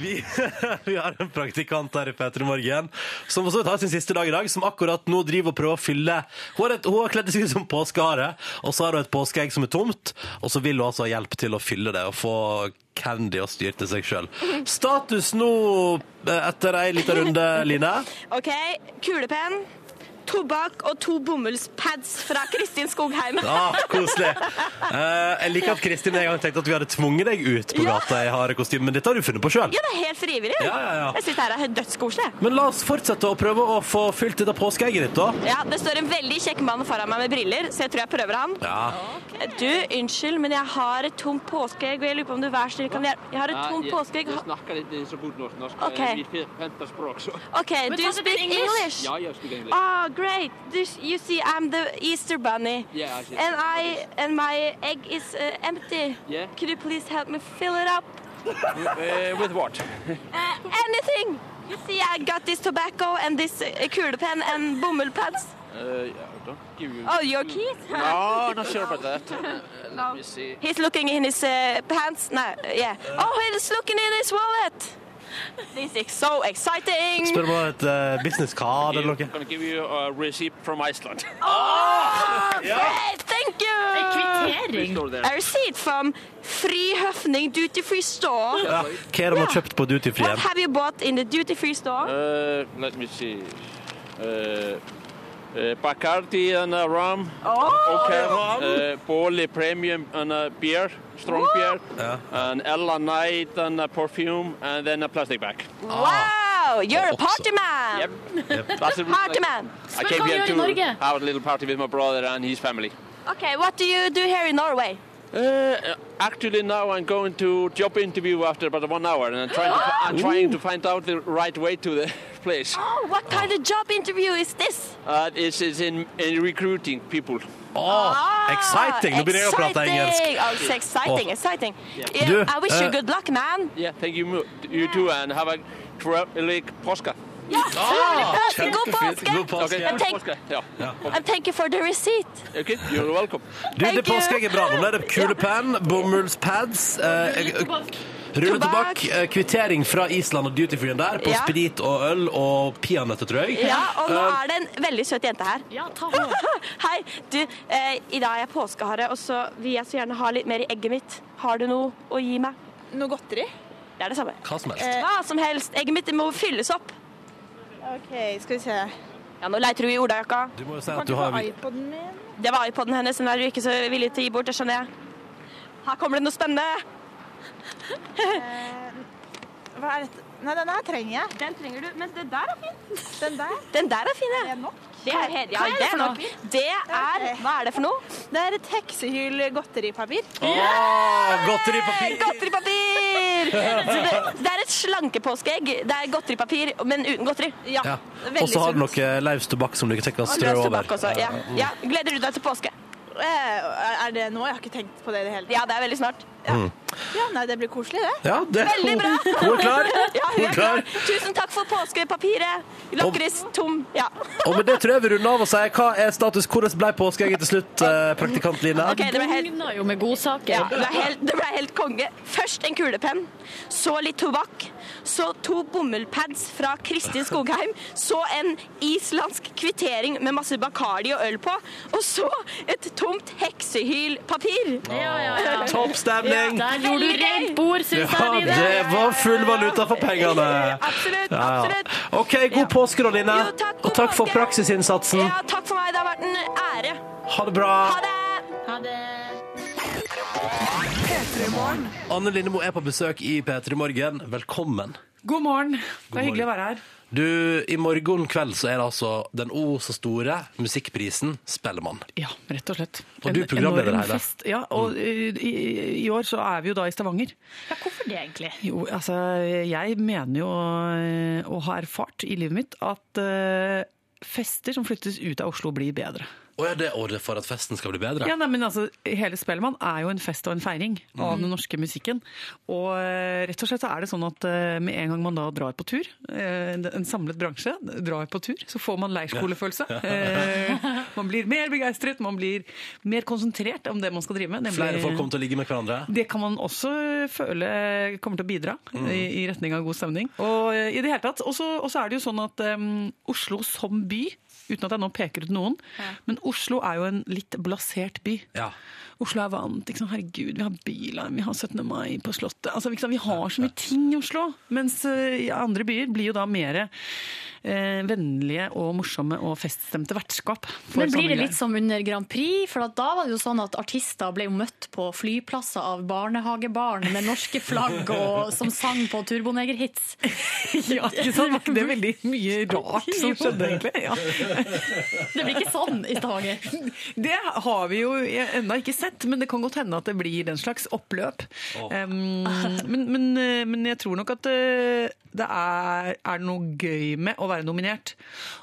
[SPEAKER 1] Vi, vi har en praktikant her i P3 Morgen som for så vidt har sin siste dag i dag, som akkurat nå driver og prøver å fylle Hun har, et, hun har kledd seg ut som påskehare, og så har hun et påskeegg som er tomt, og så vil hun altså ha hjelp til å fylle det og få candy og styre til seg sjøl. Status nå eh, etter ei lita runde, Line?
[SPEAKER 5] OK, kulepenn. Tobakk og to bomullspads fra Kristin Skogheim.
[SPEAKER 1] Ah, koselig. Eh, jeg liker at Kristin en gang tenkte at vi hadde tvunget deg ut på
[SPEAKER 5] Ja.
[SPEAKER 1] gata i harde kostyme, men dette har du funnet på sjøl.
[SPEAKER 5] Ja, det er helt frivillig.
[SPEAKER 1] Ja, ja, ja.
[SPEAKER 5] Jeg syns det her er dødskoselig.
[SPEAKER 1] Men la oss fortsette å prøve å få fylt dette påskeegget ditt, da.
[SPEAKER 5] Ja, det står en veldig kjekk mann foran meg med briller, så jeg tror jeg prøver han.
[SPEAKER 1] Ja.
[SPEAKER 5] Du, unnskyld, men jeg har et tomt påskeegg, og jeg lurer på om du vær snill kan hjelpe Jeg har et tomt påskeegg. Ha-
[SPEAKER 11] snakker litt så god norsk. norsk.
[SPEAKER 5] Ok.
[SPEAKER 11] Eh, Vi henter språk, så.
[SPEAKER 5] OK,
[SPEAKER 2] Men
[SPEAKER 5] do
[SPEAKER 2] ta
[SPEAKER 5] you
[SPEAKER 2] det
[SPEAKER 5] speak
[SPEAKER 2] på English.
[SPEAKER 5] English?
[SPEAKER 11] Ja, jeg skulle egentlig.
[SPEAKER 5] Ah, great. This, you see, I'm the Easter bunny.
[SPEAKER 11] Yeah, I see.
[SPEAKER 5] And I and my egg is uh, empty.
[SPEAKER 11] Yeah.
[SPEAKER 5] Could you please help me fill it up?
[SPEAKER 11] Eh, with what?
[SPEAKER 2] Eh.
[SPEAKER 5] Uh, anything. You see, I got this tobacco and this uh, kulepenn and bomullpads.
[SPEAKER 11] Eh,
[SPEAKER 7] Ah,
[SPEAKER 11] I don't give you...
[SPEAKER 5] Oh, your keys?
[SPEAKER 1] Mm.
[SPEAKER 11] No, Ah, not sure about that. Eh, Let me see.
[SPEAKER 5] He's looking in his uh, pants. No, uh, yeah. Oh, he's looking in his wallet. This is so exciting.
[SPEAKER 1] Spør om du har et uh, businesskard eller
[SPEAKER 11] I'm
[SPEAKER 1] noe.
[SPEAKER 11] gonna give you a receipt from Iceland.
[SPEAKER 5] Great, thank you.
[SPEAKER 2] Eh, Kvittering?
[SPEAKER 11] Står there.
[SPEAKER 5] A receipt from Free Høfning Duty Free Store.
[SPEAKER 1] Ja. Hva er det man har kjøpt på Duty Free?
[SPEAKER 5] What have you bought in the duty free store?
[SPEAKER 11] Eh, let me see. Eh, eh, Bacardi and a rum.
[SPEAKER 5] Oh,
[SPEAKER 11] Okay. Uh, Boli Premium and a beer, strong beer.
[SPEAKER 1] Yeah.
[SPEAKER 11] And Ella Knight and a perfume and then a plastic bag.
[SPEAKER 1] Ah.
[SPEAKER 5] Wow, you're a
[SPEAKER 1] Awesome.
[SPEAKER 5] party man!
[SPEAKER 11] Yep. That's a,
[SPEAKER 5] Party man!
[SPEAKER 11] I
[SPEAKER 2] Spør
[SPEAKER 11] came
[SPEAKER 2] hva vi
[SPEAKER 11] here
[SPEAKER 2] gjør i
[SPEAKER 11] to
[SPEAKER 2] Norge.
[SPEAKER 11] have a little party with my brother and his family.
[SPEAKER 5] Okay, what do you do here in Norway?
[SPEAKER 11] Uh, actually, now I'm going to job interview after about one hour, and I'm trying to, I'm trying to find out the right way to the place.
[SPEAKER 5] Oh, what kind
[SPEAKER 1] Ah.
[SPEAKER 5] of job interview is this?
[SPEAKER 11] Uh, this is in, in recruiting people.
[SPEAKER 1] Åh, Ah, exciting! Nå begynner jeg å prate
[SPEAKER 5] Ah, exciting.
[SPEAKER 1] engelsk. Ah.
[SPEAKER 5] Oh, it's exciting, exciting. Yeah,
[SPEAKER 1] Du,
[SPEAKER 5] I wish you
[SPEAKER 1] eh,
[SPEAKER 5] good luck, man.
[SPEAKER 11] Yeah, thank you, mu- you too, and have a trevlig påske.
[SPEAKER 5] Yeah,
[SPEAKER 1] Ah,
[SPEAKER 5] Trevlig påske. God
[SPEAKER 1] kjempefint.
[SPEAKER 5] påske.
[SPEAKER 1] God påske.
[SPEAKER 11] Okay,
[SPEAKER 5] And take-
[SPEAKER 11] påske. Yeah.
[SPEAKER 5] and thank you for the receipt.
[SPEAKER 11] Okay, you're welcome.
[SPEAKER 1] Du, det
[SPEAKER 5] Thank you.
[SPEAKER 1] påskeegget er bra. Nå er det kulepenn, bomullspads eh, Rulletobakk, eh, kvittering fra Island og Duty Free-en der, på
[SPEAKER 5] Ja.
[SPEAKER 1] sprit og øl og peanøtter, tror jeg.
[SPEAKER 5] Ja, og nå
[SPEAKER 1] Eh,
[SPEAKER 5] er det en veldig søt jente her.
[SPEAKER 2] Ja, ta henne.
[SPEAKER 5] Hei, du, eh, i dag er jeg påskehare, og så vil jeg så gjerne ha litt mer i egget mitt. Har du noe å gi meg?
[SPEAKER 9] Noe godteri?
[SPEAKER 5] Det er det samme.
[SPEAKER 1] Hva som helst.
[SPEAKER 5] Hva som helst. Egget mitt må fylles opp.
[SPEAKER 9] OK, skal vi se.
[SPEAKER 5] Ja, nå leiter hun i olajakka.
[SPEAKER 1] Du må jo si at du har
[SPEAKER 5] Det var iPoden hennes, den er hun ikke så villig til å gi bort, det skjønner jeg. Her kommer det noe spennende.
[SPEAKER 8] Hva er dette? Nei, den her trenger jeg.
[SPEAKER 5] Den trenger du, men den der er fin.
[SPEAKER 8] Den der?
[SPEAKER 5] Den der er fin, ja. Det er nok. Det er, ja, det er nok. Det er Hva er det for noe?
[SPEAKER 8] Det er et heksehyl godteripapir.
[SPEAKER 1] Åh, godteripapir!
[SPEAKER 5] Godteripapir! Så det, det er et slankepåskeegg. Det er godteripapir, men uten godteri. Ja,
[SPEAKER 1] Ja. Og så har du noe løs tobakk som du ikke tenker å
[SPEAKER 5] Og
[SPEAKER 1] strø
[SPEAKER 5] løs
[SPEAKER 1] over.
[SPEAKER 5] tobakk også. Ja. ja. Gleder du deg til påske?
[SPEAKER 8] Eh, Er det nå? Jeg har ikke tenkt på det i det hele tatt.
[SPEAKER 5] Ja, det er veldig snart.
[SPEAKER 1] Mm.
[SPEAKER 8] Ja, nei, det blir koselig, det.
[SPEAKER 1] Ja, det.
[SPEAKER 5] Veldig bra!
[SPEAKER 1] Hun er klar.
[SPEAKER 5] Ja,
[SPEAKER 1] Hun
[SPEAKER 5] hun
[SPEAKER 1] er
[SPEAKER 5] er
[SPEAKER 1] klar.
[SPEAKER 5] klar. Tusen takk for påskepapiret. Lakris, tom. Ja.
[SPEAKER 1] Og med det tror jeg vi runder av og sier hva er status, hvordan ble påskeegget til slutt, eh, praktikant Line?
[SPEAKER 5] Ok, det ble helt-
[SPEAKER 2] Bugna jo med godsaker.
[SPEAKER 5] Ja, det ble, helt, det ble helt konge. Først en kulepenn, så litt tobakk, så to bomullpads fra Kristin Skogheim, så en islandsk kvittering med masse Bacardi og øl på, og så et tomt heksehylpapir.
[SPEAKER 2] Ja, ja, ja.
[SPEAKER 1] Topp stemning!
[SPEAKER 2] Ja, der gjorde du rent bord, syns
[SPEAKER 1] Ja,
[SPEAKER 2] jeg. Line.
[SPEAKER 1] det var full valuta for pengene. Absolutt. absolutt. OK, god påske da, Line. Og takk for praksisinnsatsen.
[SPEAKER 5] Ja, takk for meg. Det har vært en ære.
[SPEAKER 1] Ha det bra.
[SPEAKER 5] Ha det.
[SPEAKER 1] Anne Lindemo er på besøk i P3 Morgen. Velkommen.
[SPEAKER 4] God morgen. Det
[SPEAKER 1] God
[SPEAKER 4] er hyggelig å
[SPEAKER 1] morgen.
[SPEAKER 4] være her.
[SPEAKER 1] Du, I morgen kveld så er det altså den o så store musikkprisen Spellemann.
[SPEAKER 4] Ja, rett og slett.
[SPEAKER 1] Og du
[SPEAKER 4] En
[SPEAKER 1] programleder Mm.
[SPEAKER 4] enorm
[SPEAKER 1] det hele.
[SPEAKER 4] fest. Ja, og eh, i, i år så er vi jo da i Stavanger.
[SPEAKER 2] Ja, hvorfor det, egentlig?
[SPEAKER 4] Jo, altså, jeg mener jo eh, og har erfart i livet mitt at eh, fester som flyttes ut av Oslo blir bedre.
[SPEAKER 1] Å ja, det er året for at festen skal bli bedre?
[SPEAKER 4] Ja, nei, men altså, Hele Spellemann er jo en fest og en feiring av
[SPEAKER 1] Mm.
[SPEAKER 4] den norske musikken. Og eh, rett og slett så er det sånn at eh, med en gang man da drar på tur, eh, en samlet bransje drar på tur, så får man leirskolefølelse.
[SPEAKER 1] Ja.
[SPEAKER 4] Eh, Man blir mer begeistret, man blir mer konsentrert om det man skal drive med. nemlig-
[SPEAKER 1] Flere folk kommer til å ligge med hverandre?
[SPEAKER 4] det kan man også føle kommer til å bidra
[SPEAKER 1] Mm.
[SPEAKER 4] i, i retning av god stemning. Og eh, i det hele tatt, og så og så er det jo sånn at em, Oslo som by, uten at jeg nå peker ut noen, men Oslo er jo en litt blasert by. Oslo er vant. Ikke sant? Herregud, vi har Bylarm, vi har 17. mai på Slottet. Altså, ikke sant? Vi har så mye ting i Oslo. Mens eh, i andre byer blir jo da mer eh, vennlige og morsomme og feststemte vertskap. for
[SPEAKER 2] Men
[SPEAKER 4] sånne
[SPEAKER 2] blir det
[SPEAKER 4] greier.
[SPEAKER 2] litt sånn? som under Grand Prix? For at da var det jo sånn at artister ble jo møtt på flyplasser av barnehagebarn med norske flagg og som sang på turbonegerhits.
[SPEAKER 4] Ja, ikke sant? Var ikke det veldig mye rart som skjedde, egentlig? Ja.
[SPEAKER 2] Det blir ikke sånn i Stavanger.
[SPEAKER 4] Det har vi jo ennå ikke sett, men det kan godt hende at det blir den slags oppløp. Um, men, men, eh, men jeg tror nok at eh, det er, er noe gøy med å være nominert,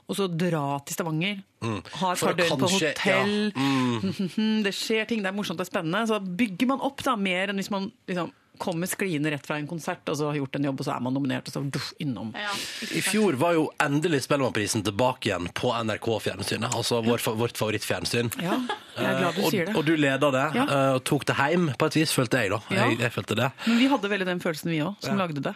[SPEAKER 4] og så dra til Stavanger.
[SPEAKER 1] Mm.
[SPEAKER 4] Ha et
[SPEAKER 1] For
[SPEAKER 4] par døgn på
[SPEAKER 1] kanskje-
[SPEAKER 4] hotell.
[SPEAKER 1] ja. Mm.
[SPEAKER 4] Det skjer ting, det er morsomt, det er spennende. Så bygger man opp da, mer enn hvis man liksom, kommer skliende rett fra en konsert, og så har gjort en jobb, og så er man nominert, og så duff, innom.
[SPEAKER 1] I fjor var jo endelig Spellemannprisen tilbake igjen på NRK-fjernsynet. Altså vår, fa- vårt favorittfjernsyn.
[SPEAKER 4] Ja, jeg er glad du
[SPEAKER 1] Eh, og,
[SPEAKER 4] sier det.
[SPEAKER 1] Og du leda det,
[SPEAKER 4] Ja.
[SPEAKER 1] eh, og tok det hjem på et vis, følte jeg, da.
[SPEAKER 4] Ja.
[SPEAKER 1] Jeg, jeg følte det.
[SPEAKER 4] Men vi hadde veldig den følelsen vi òg, som
[SPEAKER 1] Ja.
[SPEAKER 4] lagde det.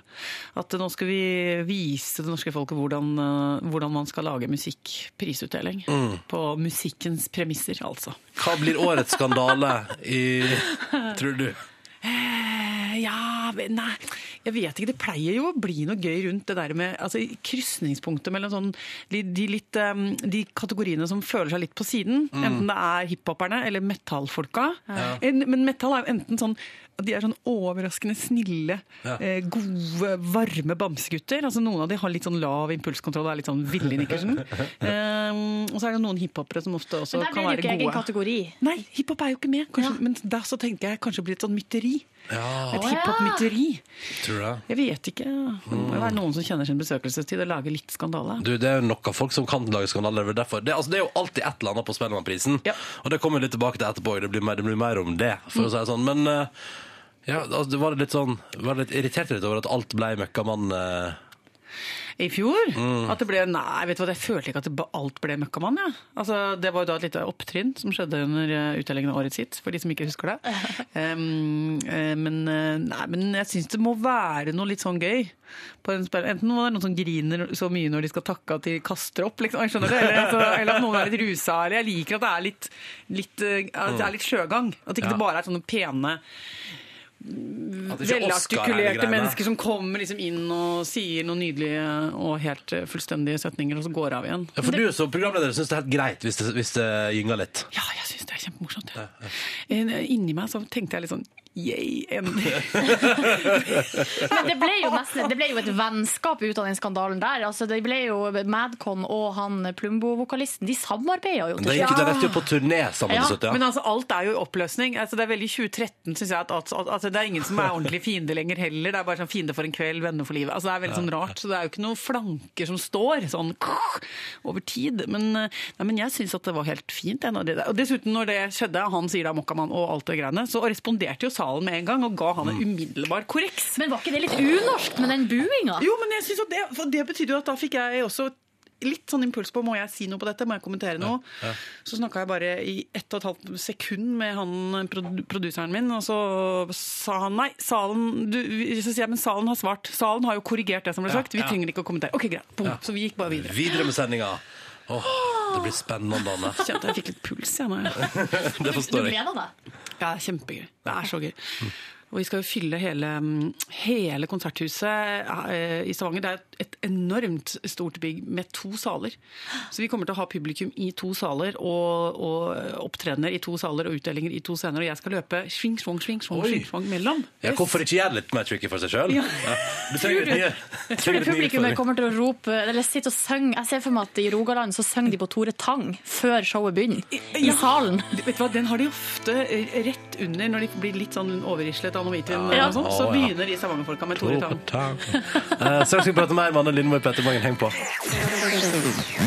[SPEAKER 4] At eh, nå skal vi vise det norske folket hvordan, eh, hvordan man skal lage musikkprisutdeling.
[SPEAKER 1] Mm.
[SPEAKER 4] På musikkens premisser, altså.
[SPEAKER 1] Hva blir årets skandale i Tror du?
[SPEAKER 4] Eh, Ja, men nei, jeg vet ikke. Det pleier jo å bli noe gøy rundt det der med altså, krysningspunktet mellom sånn, de, de, litt, eh, de kategoriene som føler seg litt på siden,
[SPEAKER 12] Mm.
[SPEAKER 4] enten det er hiphoperne eller metallfolka.
[SPEAKER 12] Ja.
[SPEAKER 4] En- Men metall er jo enten sånn de er sånn overraskende snille,
[SPEAKER 12] Ja.
[SPEAKER 4] eh, gode, varme bamsegutter. Altså, noen av de har litt sånn lav impulskontroll og er litt sånn Ville Nikkersen. Eh, og så er det noen hiphopere som ofte også
[SPEAKER 2] Men der
[SPEAKER 4] kan
[SPEAKER 2] blir
[SPEAKER 4] være
[SPEAKER 2] det jo
[SPEAKER 4] gode.
[SPEAKER 2] ikke egen kategori.
[SPEAKER 4] Nei, hiphop er jo ikke med. Kanskje, Men da så tenker jeg kanskje det blir et sånn mytteri.
[SPEAKER 1] Ja. Mm.
[SPEAKER 4] Et hiphop-mytteri.
[SPEAKER 1] Tror du det?
[SPEAKER 4] Jeg vet ikke. Det må jo være noen som kjenner sin besøkelsestid og lager litt skandale.
[SPEAKER 1] Du, det er jo nok av folk som kan lage skandaler. Det, er derfor- det, altså, det er jo alltid et eller annet på Spellemannprisen. Og det kommer vi litt tilbake til etterpå. Det blir mer, det blir mer om det,
[SPEAKER 4] Mm.
[SPEAKER 1] for å si det sånn. Men eh, ja, altså, det var litt sånn Var litt irritert litt over at alt ble møkkamann. eh.
[SPEAKER 4] I fjor?
[SPEAKER 1] Mm.
[SPEAKER 4] At det ble Nei, vet du hva, jeg følte ikke at det ba- alt ble møkkamann, jeg. Altså, det var jo da et lite opptrinn som skjedde under eh, utdelingen av årets hit, for de som ikke husker det. Um, eh, men, eh, nei, men jeg syns det må være noe litt sånn gøy. På en spell. Enten må det være noen som griner så mye når de skal takke at de kaster opp, liksom. Jeg skjønner det. Eller, altså, eller at noen er litt rusa. Eller jeg liker at det er litt, litt, eh, at det er litt sjøgang. At
[SPEAKER 1] Mm. Ja.
[SPEAKER 4] ikke det bare er sånne pene
[SPEAKER 1] At ikke Oscar er hele
[SPEAKER 4] velartikulerte
[SPEAKER 1] greia.
[SPEAKER 4] Mm. mennesker som kommer liksom inn og sier noen nydelige og helt eh, fullstendige setninger, og så går av igjen.
[SPEAKER 1] Ja, for du som programleder syns det er helt greit hvis det, hvis det gynger litt.
[SPEAKER 4] Ja, jeg syns det er kjempemorsomt. Ja. Eh, Inni meg så tenkte jeg litt sånn Yay, endelig.
[SPEAKER 2] Men det ble, jo nesten, det ble jo et vennskap ut av den skandalen der. Altså, det ble jo Madcon og han Plumbo-vokalisten, de samarbeida jo
[SPEAKER 1] Det gikk
[SPEAKER 2] slutt.
[SPEAKER 1] det rett jo på turné sammen.
[SPEAKER 4] Ja,
[SPEAKER 1] til slutt, ja.
[SPEAKER 4] Men altså, alt er jo i oppløsning. Altså, det er veldig 2013, syns jeg. At, at, at, at det er ingen som er ordentlig fiende lenger heller. Det er bare sånn fiende for en kveld, venner for livet. Altså, det er veldig
[SPEAKER 1] Ja.
[SPEAKER 4] sånn rart. Så det er jo ikke noen flanker som står sånn over tid. Men, eh, nei, men jeg syns at det var helt fint. Jeg, når det, der- og dessuten, når det skjedde, han sier da mokkamann og alt det greiene, så responderte jo salen med en gang og ga han en umiddelbar korreks.
[SPEAKER 2] Men var ikke det litt unorskt med den buinga?
[SPEAKER 4] Jo, men jeg synes jo det, for det betydde jo at da fikk jeg også litt sånn impuls på må jeg si noe på dette, må jeg kommentere noe.
[SPEAKER 1] Ja.
[SPEAKER 4] Så snakka jeg bare i ett og et halvt sekund med han prod- produseren min, og så sa han nei, salen du, vi- Så sier jeg men salen har svart. Salen har jo korrigert det som ble
[SPEAKER 1] Ja,
[SPEAKER 4] sagt, vi
[SPEAKER 1] ja.
[SPEAKER 4] trenger ikke å kommentere. Ok, greit. Boom.
[SPEAKER 1] Ja.
[SPEAKER 4] Så vi gikk bare videre.
[SPEAKER 1] Videre med sendinga. Åh, det blir spennende, Anne.
[SPEAKER 4] Kjente jeg fikk litt puls, jeg nå. jeg.
[SPEAKER 1] Det forstår jeg.
[SPEAKER 4] Ja, kjempegøy. Det er så gøy. Og vi skal jo fylle hele, mm, hele konserthuset eh, i Stavanger. Det er et enormt stort bygg med to saler. Så vi kommer til å ha publikum i to saler, og, og opptredener i to saler og utdelinger i to scener. Og jeg skal løpe sving, svong, sving, svong,
[SPEAKER 1] Oi.
[SPEAKER 4] sving, svong mellom.
[SPEAKER 1] Ja, hvorfor ikke gjøre det litt mer tricky for seg sjøl?
[SPEAKER 4] Ja.
[SPEAKER 1] Du trenger litt nye,
[SPEAKER 2] Tror du
[SPEAKER 1] trenger litt nye
[SPEAKER 2] publikummet
[SPEAKER 1] utfordringer.
[SPEAKER 2] kommer til å rope Eller sitte og synge Jeg ser for meg at i Rogaland så synger de på Tore Tang før showet begynner. I
[SPEAKER 4] Ja.
[SPEAKER 2] salen.
[SPEAKER 4] Vet du hva, Den har de ofte eh, rett under når de blir litt sånn overrislet av Norwegian.
[SPEAKER 1] Ja.
[SPEAKER 4] og sånn,
[SPEAKER 1] Å,
[SPEAKER 4] Så
[SPEAKER 1] ja.
[SPEAKER 4] begynner de Stavanger-folka med Tore Tang.
[SPEAKER 1] Eh, Straks skal vi prate mer med Anne Lindmo i Petter Morgen. Heng på.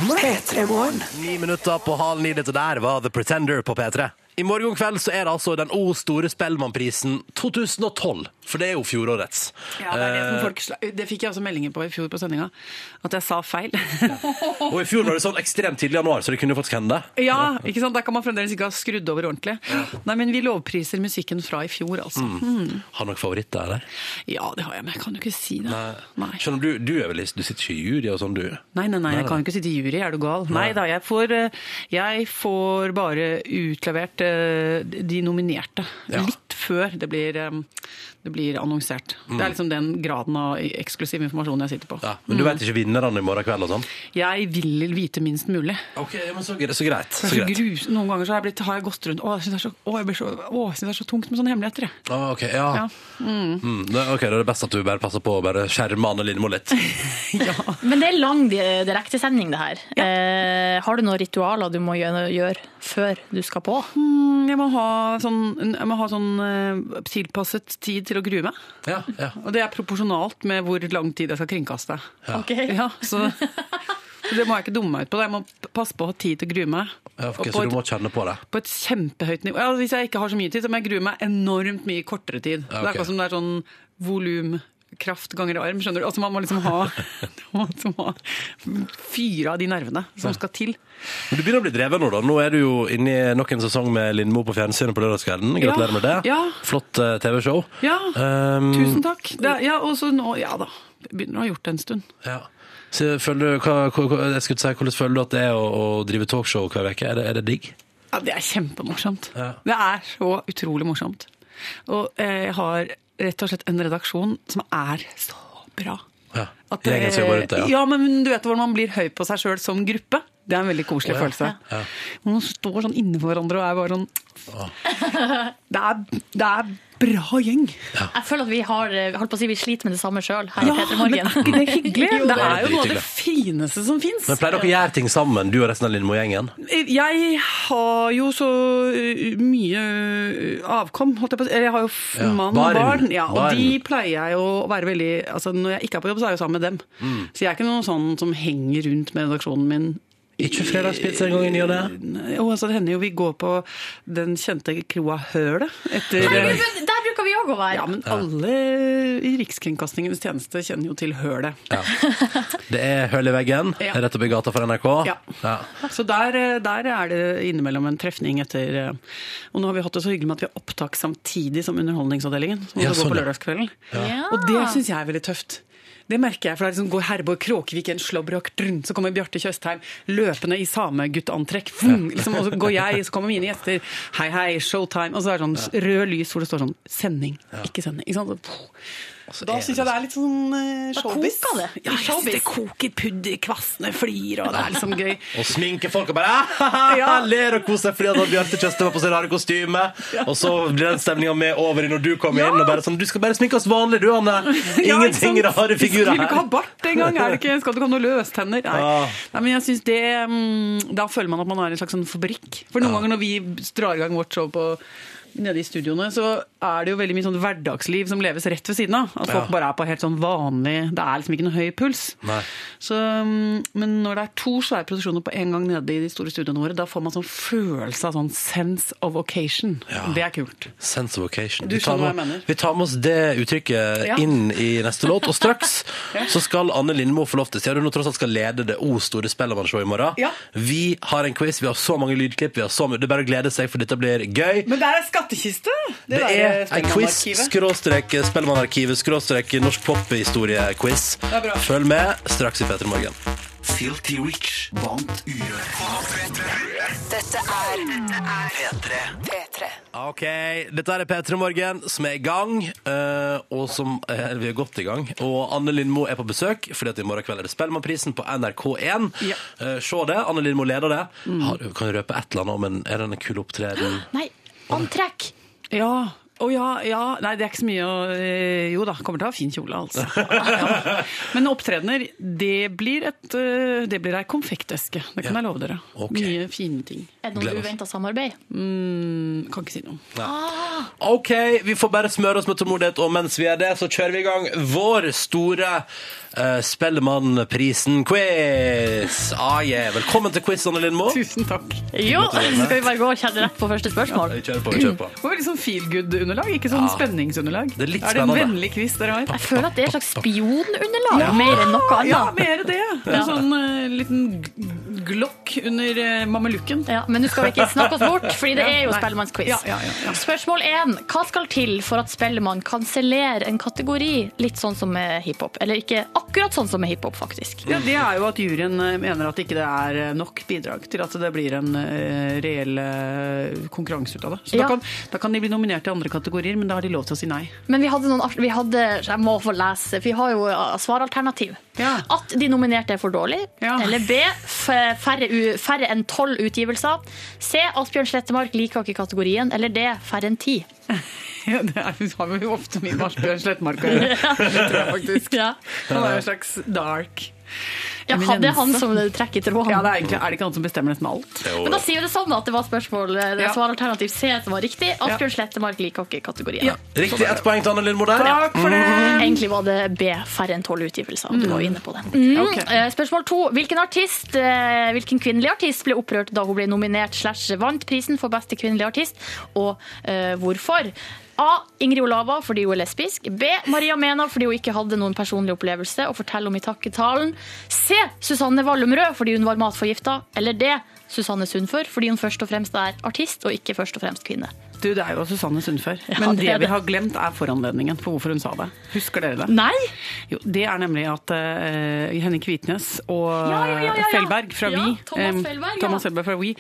[SPEAKER 1] Ni minutter på halv ni. Dette der var The Pretender på P3. I morgen kveld så er det altså den O store Spellemannprisen 2012. For det er jo fjorårets.
[SPEAKER 4] Ja, det, er det, som
[SPEAKER 1] Eh,
[SPEAKER 4] folk sla det fikk jeg også meldinger på i fjor på sendinga, at jeg sa feil.
[SPEAKER 1] Og i fjor var det sånn ekstremt tidlig i januar, så det kunne jo faktisk hende.
[SPEAKER 4] ja, ikke sant? Da kan man fremdeles ikke ha skrudd over ordentlig. Nei, men vi lovpriser musikken fra i fjor, altså.
[SPEAKER 1] Mm.
[SPEAKER 4] Mm.
[SPEAKER 1] Har du noen favoritter, eller?
[SPEAKER 4] Ja, det har jeg, men jeg kan jo ikke si det.
[SPEAKER 1] Nei. Skjønner du, du er vel du sitter ikke i jury og sånn, du?
[SPEAKER 4] Nei, nei, nei, jeg kan jo ikke sitte i jury, er du gal? Nei da, jeg får, eh, jeg får bare utlevert eh, de nominerte.
[SPEAKER 1] Ja.
[SPEAKER 4] Litt før det blir, eh, det blir annonsert.
[SPEAKER 1] Mm.
[SPEAKER 4] Det er liksom den graden av eksklusiv informasjon jeg sitter på.
[SPEAKER 1] Men du
[SPEAKER 4] Mm.
[SPEAKER 1] vet ikke vinnerne i morgen kveld og sånn?
[SPEAKER 4] Jeg vil vite minst mulig.
[SPEAKER 1] Ok, men så, gre- så greit.
[SPEAKER 4] Det
[SPEAKER 1] Så
[SPEAKER 4] er så
[SPEAKER 1] greit.
[SPEAKER 4] grus- Noen ganger så har jeg, blitt, har jeg gått rundt Å, jeg syns det, er så- å, jeg blir så- å, jeg synes det er så tungt med sånne hemmeligheter. jeg.
[SPEAKER 1] Ah, ok, ja.
[SPEAKER 4] Ja. Mm.
[SPEAKER 1] Mm, det, ok, Da er det best at du bare passer på å bare skjerme Anne Lindmo litt.
[SPEAKER 2] Men det er lang di- direktesending, det her. Eh, har du noen ritualer du må gjøre, gjøre før du skal på?
[SPEAKER 4] Mm, Jeg må ha sånn, jeg må ha sånn eh, tilpasset tid til å grue meg. Og det er proporsjonalt med hvor lang tid jeg skal kringkaste.
[SPEAKER 1] Ja.
[SPEAKER 4] Ja, så, så det må jeg ikke dumme meg ut på. Jeg må passe på å ha tid til å grue meg.
[SPEAKER 1] Ja, ok,
[SPEAKER 4] Og på
[SPEAKER 1] så
[SPEAKER 4] et-
[SPEAKER 1] du må kjenne på det.
[SPEAKER 4] på et kjempehøyt nivå. Ja, hvis jeg ikke har så mye tid, så må jeg grue meg enormt mye i kortere tid.
[SPEAKER 1] Ja, ok.
[SPEAKER 4] Det er akkurat som det er sånn volum, kraft ganger arm, skjønner du. Altså man må liksom ha, man må liksom ha fire av de nervene som skal til.
[SPEAKER 1] Men Du begynner å bli dreven nå, da. Nå er du jo inne i nok en sesong med Lindmo på fjernsynet på lørdagskvelden. Gratulerer med det.
[SPEAKER 4] Ja.
[SPEAKER 1] Flott eh, TV-show.
[SPEAKER 4] Ja,
[SPEAKER 1] Um,
[SPEAKER 4] tusen takk. Det, er- ja, og så nå, ja da, begynner å ha gjort det en stund.
[SPEAKER 1] Ja. Så føler du, hva, hva, hva, jeg skulle si, hvordan føler du at det er å, å drive talkshow hver uke? Er, det- er det digg?
[SPEAKER 4] Ja, det er kjempemorsomt. Det er så utrolig morsomt. Og eh, jeg har rett og slett en redaksjon som er så bra.
[SPEAKER 1] Ja.
[SPEAKER 4] At det-
[SPEAKER 1] Gjengen som går rundt der,
[SPEAKER 4] ja. men du vet hvordan man blir høy på seg sjøl som gruppe. Det er en veldig koselig
[SPEAKER 1] Å, ja.
[SPEAKER 4] følelse.
[SPEAKER 1] Ja.
[SPEAKER 4] Man står sånn innenfor hverandre og er bare sånn Det er, det er bra gjeng.
[SPEAKER 2] Jeg føler at vi har eh, holdt på å si, vi sliter med det samme sjøl her i P3
[SPEAKER 4] men er ikke
[SPEAKER 2] Morgen.
[SPEAKER 4] det hyggelig?
[SPEAKER 2] Jo,
[SPEAKER 4] Det
[SPEAKER 1] det er
[SPEAKER 4] er jo noe av
[SPEAKER 1] drithyggelig.
[SPEAKER 4] det fineste som fins.
[SPEAKER 1] Men pleier dere å gjøre ting sammen, du og resten av Lindmo-gjengen?
[SPEAKER 4] Jeg har jo så uh, mye uh, avkom, holdt jeg på å si. Eller Jeg har jo f-
[SPEAKER 1] Ja,
[SPEAKER 4] mann
[SPEAKER 1] barn.
[SPEAKER 4] og barn. Ja, og
[SPEAKER 1] Barn.
[SPEAKER 4] de pleier jeg jo å være veldig Altså når jeg ikke er på jobb, så er jeg jo sammen med dem.
[SPEAKER 1] Mm.
[SPEAKER 4] Så jeg er ikke noen sånn som henger rundt med redaksjonen min.
[SPEAKER 1] Ikke fredagspizza en gang i ny og ne?
[SPEAKER 4] Jo, altså det hender jo vi går på den kjente kroa Hølet etter
[SPEAKER 2] Herregud, men der bruker vi òg å være.
[SPEAKER 4] Ja, men alle i Rikskringkastingens tjeneste kjenner jo til Hølet.
[SPEAKER 1] Det er hull i veggen,
[SPEAKER 4] Ja.
[SPEAKER 1] rett oppi gata for NRK.
[SPEAKER 4] Ja.
[SPEAKER 1] Ja.
[SPEAKER 4] Så der, eh, der er det innimellom en trefning etter eh, Og nå har vi hatt det så hyggelig med at vi har opptak samtidig som Underholdningsavdelingen. Som
[SPEAKER 1] Ja,
[SPEAKER 4] også går
[SPEAKER 1] sånn,
[SPEAKER 4] på
[SPEAKER 1] ja.
[SPEAKER 4] lørdagskvelden.
[SPEAKER 1] Ja.
[SPEAKER 4] Og det syns jeg er veldig tøft. Det merker jeg, for det er liksom går Herborg Kråkevik i en slåbrok, drrn, så kommer Bjarte Tjøstheim løpende i sameguttantrekk. vroom, Liksom, og så går jeg, så kommer mine gjester. Hei, hei, showtime. Og så er det sånn rød lys hvor det står sånn sending, ikke sending. Ikke sant? Så, da syns jeg det er litt
[SPEAKER 1] liksom-
[SPEAKER 4] sånn eh,
[SPEAKER 2] Da
[SPEAKER 4] showbiz.
[SPEAKER 2] koker det.
[SPEAKER 4] Ja, jeg synes det koker pudder, kvassene flir, og det er liksom gøy.
[SPEAKER 1] Og sminke folk og bare «Ah,
[SPEAKER 4] Ja.
[SPEAKER 1] ler og koser seg fordi at Bjarte Tjøstheim har på seg rare kostyme. Og så blir den stemninga med over i når du kommer inn og bare sånn Du skal bare sminke oss vanlig, du, Anne.
[SPEAKER 4] Ja, ikke sant?
[SPEAKER 1] Ingenting rare figurer
[SPEAKER 4] Vil du ikke ha
[SPEAKER 1] her.
[SPEAKER 4] bart engang? Er det ikke- Skal du ikke ha noe løstenner? Nei.
[SPEAKER 1] Ah.
[SPEAKER 4] Nei, men jeg synes det mm, Da føler man at man er i en slags sånn fabrikk. For noen ganger når vi drar i gang vårt show på Nede i studioene så er det jo veldig mye sånn hverdagsliv som leves rett ved siden av. At folk
[SPEAKER 1] Ja.
[SPEAKER 4] bare er på helt sånn vanlig Det er liksom ikke noe høy puls.
[SPEAKER 1] Nei.
[SPEAKER 4] Så, mm, men når det er to svære produksjoner på en gang nede i de store studioene våre, da får man sånn følelse av sånn sense of occasion. Det er kult.
[SPEAKER 1] Sense of occasion.
[SPEAKER 4] Du
[SPEAKER 1] Vi tar
[SPEAKER 4] skjønner hva jeg
[SPEAKER 1] med-
[SPEAKER 4] mener.
[SPEAKER 1] Vi tar med oss det uttrykket
[SPEAKER 4] Ja.
[SPEAKER 1] inn i neste låt. Og straks så skal Anne Lindmo få lov til, siden hun nå tross alt skal lede det o store Spellemannshowet i morgen
[SPEAKER 4] Ja.
[SPEAKER 1] Vi har en quiz, vi har så mange lydklipp, vi har så mye Det er bare å glede seg, for dette blir gøy.
[SPEAKER 4] Men det er en skattkiste! eh,
[SPEAKER 1] Det, er en quiz, skråstrek Spellemannarkivet, skråstrek norsk pophistorie-quiz.
[SPEAKER 4] Det er bra.
[SPEAKER 1] Følg med straks i P3 Morgen.
[SPEAKER 12] Filthy Rich vant urørt.
[SPEAKER 10] Dette er P3. P3.
[SPEAKER 1] OK, dette er P3 Morgen som er i gang, eh, og som eh, vi er godt i gang. Og Anne Lindmo er på besøk, fordi at i morgen kveld er det Spellemannprisen på NRK1. Eh, se det. Anne Lindmo leder det. Har, kan du røpe et eller annet om en, er det en kul opptreden?
[SPEAKER 2] Nei, antrekk!
[SPEAKER 4] Ja. Å ja, ja. Nei, det er ikke så mye å eh, Jo da, kommer til å ha fin kjole, altså. Ja. Men opptredener, det blir et eh, Det blir ei konfekteske. Det kan jeg love dere. Mye fine ting.
[SPEAKER 2] Er det noe uventa samarbeid?
[SPEAKER 4] Mm, kan ikke si noe.
[SPEAKER 1] Nei. OK, vi får bare smøre oss med tålmodighet, og mens vi er det, så kjører vi i gang vår store uh, Spellemannprisen-quiz. Ah, yeah. Velkommen til quiz, Anne Lindmo.
[SPEAKER 4] Tusen takk.
[SPEAKER 2] Jo! Skal vi bare gå og kjenne rett på første spørsmål?
[SPEAKER 1] Vi kjører på. vi kjører på.
[SPEAKER 4] Det var veldig sånn feel good-underlag, ikke sånn
[SPEAKER 1] Ja.
[SPEAKER 4] spenningsunderlag.
[SPEAKER 1] Det er litt
[SPEAKER 4] det en
[SPEAKER 1] spennende.
[SPEAKER 4] vennlig quiz dere har?
[SPEAKER 2] Jeg føler at det er et slags spionunderlag,
[SPEAKER 4] Ja.
[SPEAKER 2] mer enn noe annet.
[SPEAKER 4] Ja, mer det.
[SPEAKER 2] Ja.
[SPEAKER 4] En sånn eh, liten g- glokk under eh, mamelukken.
[SPEAKER 2] Ja, men nå skal vi ikke snakke oss bort, fordi det er jo
[SPEAKER 4] Nei.
[SPEAKER 2] Spellemannsquiz.
[SPEAKER 4] Ja, ja, ja, ja.
[SPEAKER 2] Spørsmål én. Hva skal til for at Spellemann kansellerer en kategori litt sånn som med hiphop? Eller ikke akkurat sånn som med hiphop, faktisk.
[SPEAKER 4] Ja, Det er jo at juryen eh, mener at ikke det er eh, nok bidrag til at det blir en eh, reell eh, konkurranse ut av det. Så
[SPEAKER 2] Ja.
[SPEAKER 4] da, kan, da kan de bli nominert i andre kategorier, men da har de lov til å si nei.
[SPEAKER 2] Men vi hadde noen art- vi hadde, Jeg må få lese. Vi har jo eh, svaralternativ. At de nominerte er for dårlig. Eller B. f- Færre, u- færre enn tolv utgivelser. C. Asbjørn Slettemark liker ikke kategorien. Eller D. Færre enn ti.
[SPEAKER 4] Ja, det er, har vi jo ofte mye med Asbjørn Slettmark å gjøre. Det tror jeg faktisk. Han er jo en slags dark
[SPEAKER 2] Ja, han- det er han
[SPEAKER 4] eminense.
[SPEAKER 2] som trekker tråden.
[SPEAKER 4] Ja, det er, egentlig, er det ikke han som bestemmer nesten alt?
[SPEAKER 2] Men da sier vi det sånn da, at det var spørsmål Det
[SPEAKER 4] Ja.
[SPEAKER 2] var alternativ C som var riktig. Asbjørn Slettemark liker ikke kategorien.
[SPEAKER 1] Riktig ett poeng til Anne Lindmo der.
[SPEAKER 2] Mhm. Egentlig var det B, færre enn tolv utgivelser. Du var jo inne på det. Mm. Eh, Spørsmål to. Hvilken, artist, eh, hvilken kvinnelig artist ble opprørt da hun ble nominert slash vant prisen for beste kvinnelige artist, og eh, hvorfor? A. Ingrid Olava fordi hun er lesbisk. B. Maria Mena fordi hun ikke hadde noen personlig opplevelse å fortelle om i takketalen. C. Susanne Wallumrød fordi hun var matforgifta. Eller D. Susanne Sundfør fordi hun først og fremst er artist og ikke først og fremst kvinne.
[SPEAKER 4] Du, det er jo Susanne Sundfør.
[SPEAKER 2] Ja,
[SPEAKER 4] Men
[SPEAKER 2] det
[SPEAKER 4] det,
[SPEAKER 2] er det.
[SPEAKER 4] vi har glemt er foranledningen for hvorfor hun sa det. Husker dere det?
[SPEAKER 2] Nei!
[SPEAKER 4] Jo, det er nemlig at eh, Henning Kvitnes og
[SPEAKER 2] ja, ja, ja.
[SPEAKER 4] Fellberg fra
[SPEAKER 2] Ja,
[SPEAKER 4] Vi
[SPEAKER 2] Thomas
[SPEAKER 4] em,
[SPEAKER 2] Fellberg, ja.
[SPEAKER 4] Thomas Fellberg fra We,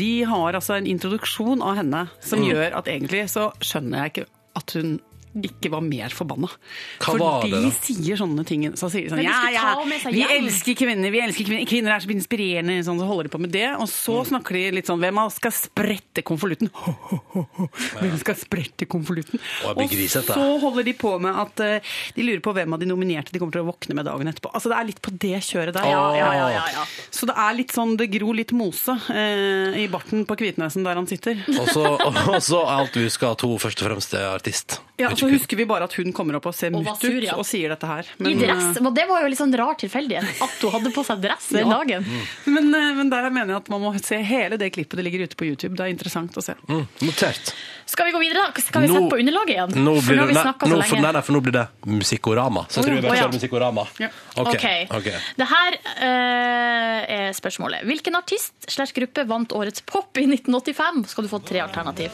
[SPEAKER 4] de har altså en introduksjon av henne som
[SPEAKER 1] Mm.
[SPEAKER 4] gjør at egentlig så skjønner jeg ikke at hun ikke var mer forbanna. For
[SPEAKER 1] var det
[SPEAKER 4] de
[SPEAKER 1] da?
[SPEAKER 4] sier sånne ting. Så sier de sånn
[SPEAKER 2] Men de
[SPEAKER 4] Ja,
[SPEAKER 2] skulle
[SPEAKER 4] ja,
[SPEAKER 2] ta henne med seg
[SPEAKER 4] vi
[SPEAKER 2] hjem."
[SPEAKER 4] elsker kvinner, vi elsker kvinner. Kvinner er så inspirerende, sånn, så holder de på med det. Og så
[SPEAKER 1] Mm.
[SPEAKER 4] snakker de litt sånn Hvem av oss skal sprette konvolutten? Hvem skal sprette konvolutten?
[SPEAKER 1] Å, jeg blir grisete.
[SPEAKER 4] så holder de på med at eh, de lurer på hvem av de nominerte de kommer til å våkne med dagen etterpå. Altså Det er litt på det kjøret der.
[SPEAKER 1] Ja, ja, ja, ja,
[SPEAKER 4] Så det er litt sånn det gror litt mose eh, i barten på Kvitnesen der han sitter.
[SPEAKER 1] Og så og så er alt du husker at hun først og fremst er artist.
[SPEAKER 4] Ja, Så husker vi bare at hun kommer opp og ser
[SPEAKER 2] Og var
[SPEAKER 4] mutt
[SPEAKER 2] sur,
[SPEAKER 4] ut
[SPEAKER 2] ja.
[SPEAKER 4] og sier dette her.
[SPEAKER 2] I dress.
[SPEAKER 4] eh,
[SPEAKER 2] Men det var jo litt sånn rar tilfeldighet at hun hadde på seg dress den
[SPEAKER 4] Ja.
[SPEAKER 2] dagen.
[SPEAKER 1] Mm.
[SPEAKER 4] Men, eh, men der jeg mener jeg at man må se hele det klippet. Det ligger ute på YouTube. Det er interessant å se.
[SPEAKER 1] Mm, notert.
[SPEAKER 2] Skal vi gå videre, da? Skal vi
[SPEAKER 1] Nå-
[SPEAKER 2] sette på underlaget igjen?
[SPEAKER 1] Nå
[SPEAKER 2] For
[SPEAKER 1] blir
[SPEAKER 2] nå har
[SPEAKER 1] det,
[SPEAKER 2] vi
[SPEAKER 1] nei,
[SPEAKER 2] snakket
[SPEAKER 1] nå,
[SPEAKER 2] så
[SPEAKER 1] for,
[SPEAKER 2] lenge.
[SPEAKER 1] nei, nei, for nå blir det Musikkorama. Så jeg tror vi
[SPEAKER 2] Å,
[SPEAKER 1] bare
[SPEAKER 2] ja.
[SPEAKER 1] kjører Musikkorama. Ok,
[SPEAKER 2] Ok.
[SPEAKER 1] ok.
[SPEAKER 2] Det her eh, er spørsmålet. Hvilken artist slash gruppe vant årets pop i 1985? Skal du få tre alternativ.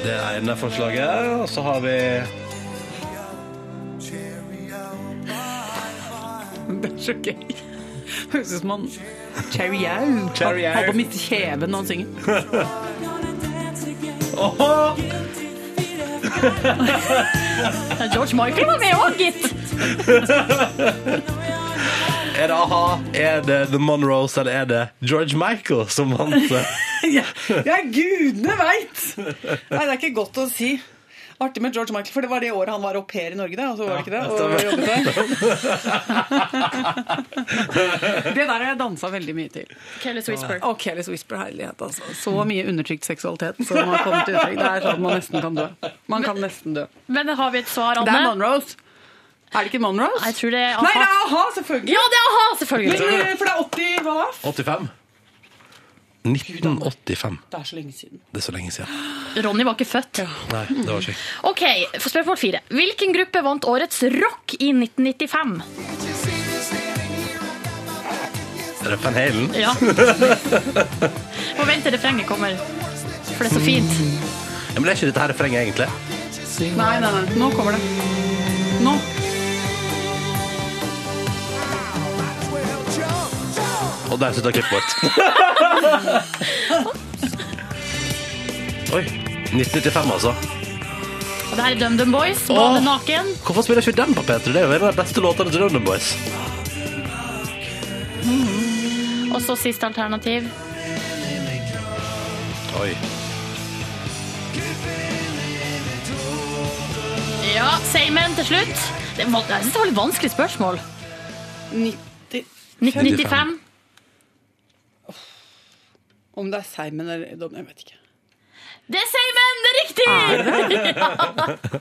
[SPEAKER 1] Det ene forslaget, og så har vi
[SPEAKER 4] så gøy. Høres ut som han Cherry Au
[SPEAKER 12] Cherry Au.
[SPEAKER 4] har på midt kjeven når han synger.
[SPEAKER 2] George Michael var med òg, gitt.
[SPEAKER 1] Er det a-ha? Er det The Monroes, eller er det George Michael som vant? eh,
[SPEAKER 4] ja, ja, gudene veit! Nei, det er ikke godt å si. Artig med George Michael, for det var det året han var au pair i Norge. Det, og så var det ikke det, og
[SPEAKER 12] stemmer.
[SPEAKER 4] jobbet der. det der har jeg dansa veldig mye til.
[SPEAKER 2] Careless Whisper.
[SPEAKER 4] Å, Careless Whisper, herlighet, altså. Så mye undertrykt seksualitet som har kommet til uttrykk. Det er sånn man nesten kan dø. Man kan nesten dø.
[SPEAKER 2] Men har vi et svar, Anne?
[SPEAKER 4] Det er Monroes. Er det ikke Monroes?
[SPEAKER 2] Jeg tror det er
[SPEAKER 4] Nei, det er
[SPEAKER 2] a-ha,
[SPEAKER 4] selvfølgelig.
[SPEAKER 2] Ja, det er a-ha, selvfølgelig.
[SPEAKER 4] Men, eh, for det er 80 hva da?
[SPEAKER 1] 85. 1985.
[SPEAKER 4] Det er så lenge siden.
[SPEAKER 1] Det er så lenge siden.
[SPEAKER 2] Ronny var ikke født.
[SPEAKER 1] Nei, det var ikke
[SPEAKER 2] Ok, for spørsmål fire. Hvilken gruppe vant årets rock i 1995?
[SPEAKER 1] Er det Van Halen?
[SPEAKER 2] Ja. Må vente refrenget kommer, for det er så fint.
[SPEAKER 1] Ja, Men det er ikke dette her refrenget, egentlig.
[SPEAKER 4] Nei, nei, nei. Nå kommer det. Nå.
[SPEAKER 1] Og der slutta klippet vårt. Oi. 1995, altså.
[SPEAKER 2] Og det her er DumDum Boys, Bade naken.
[SPEAKER 1] Hvorfor spiller ikke den på P3? Det er jo en av de beste låtene til London Boys.
[SPEAKER 2] Og så siste alternativ.
[SPEAKER 1] Oi.
[SPEAKER 2] Ja, Seimen til slutt. Det var, jeg synes det var litt vanskelig spørsmål. 1995.
[SPEAKER 4] Om det er Simon eller Don, jeg vet ikke.
[SPEAKER 2] Det er Seimen, det er riktig!
[SPEAKER 4] Vet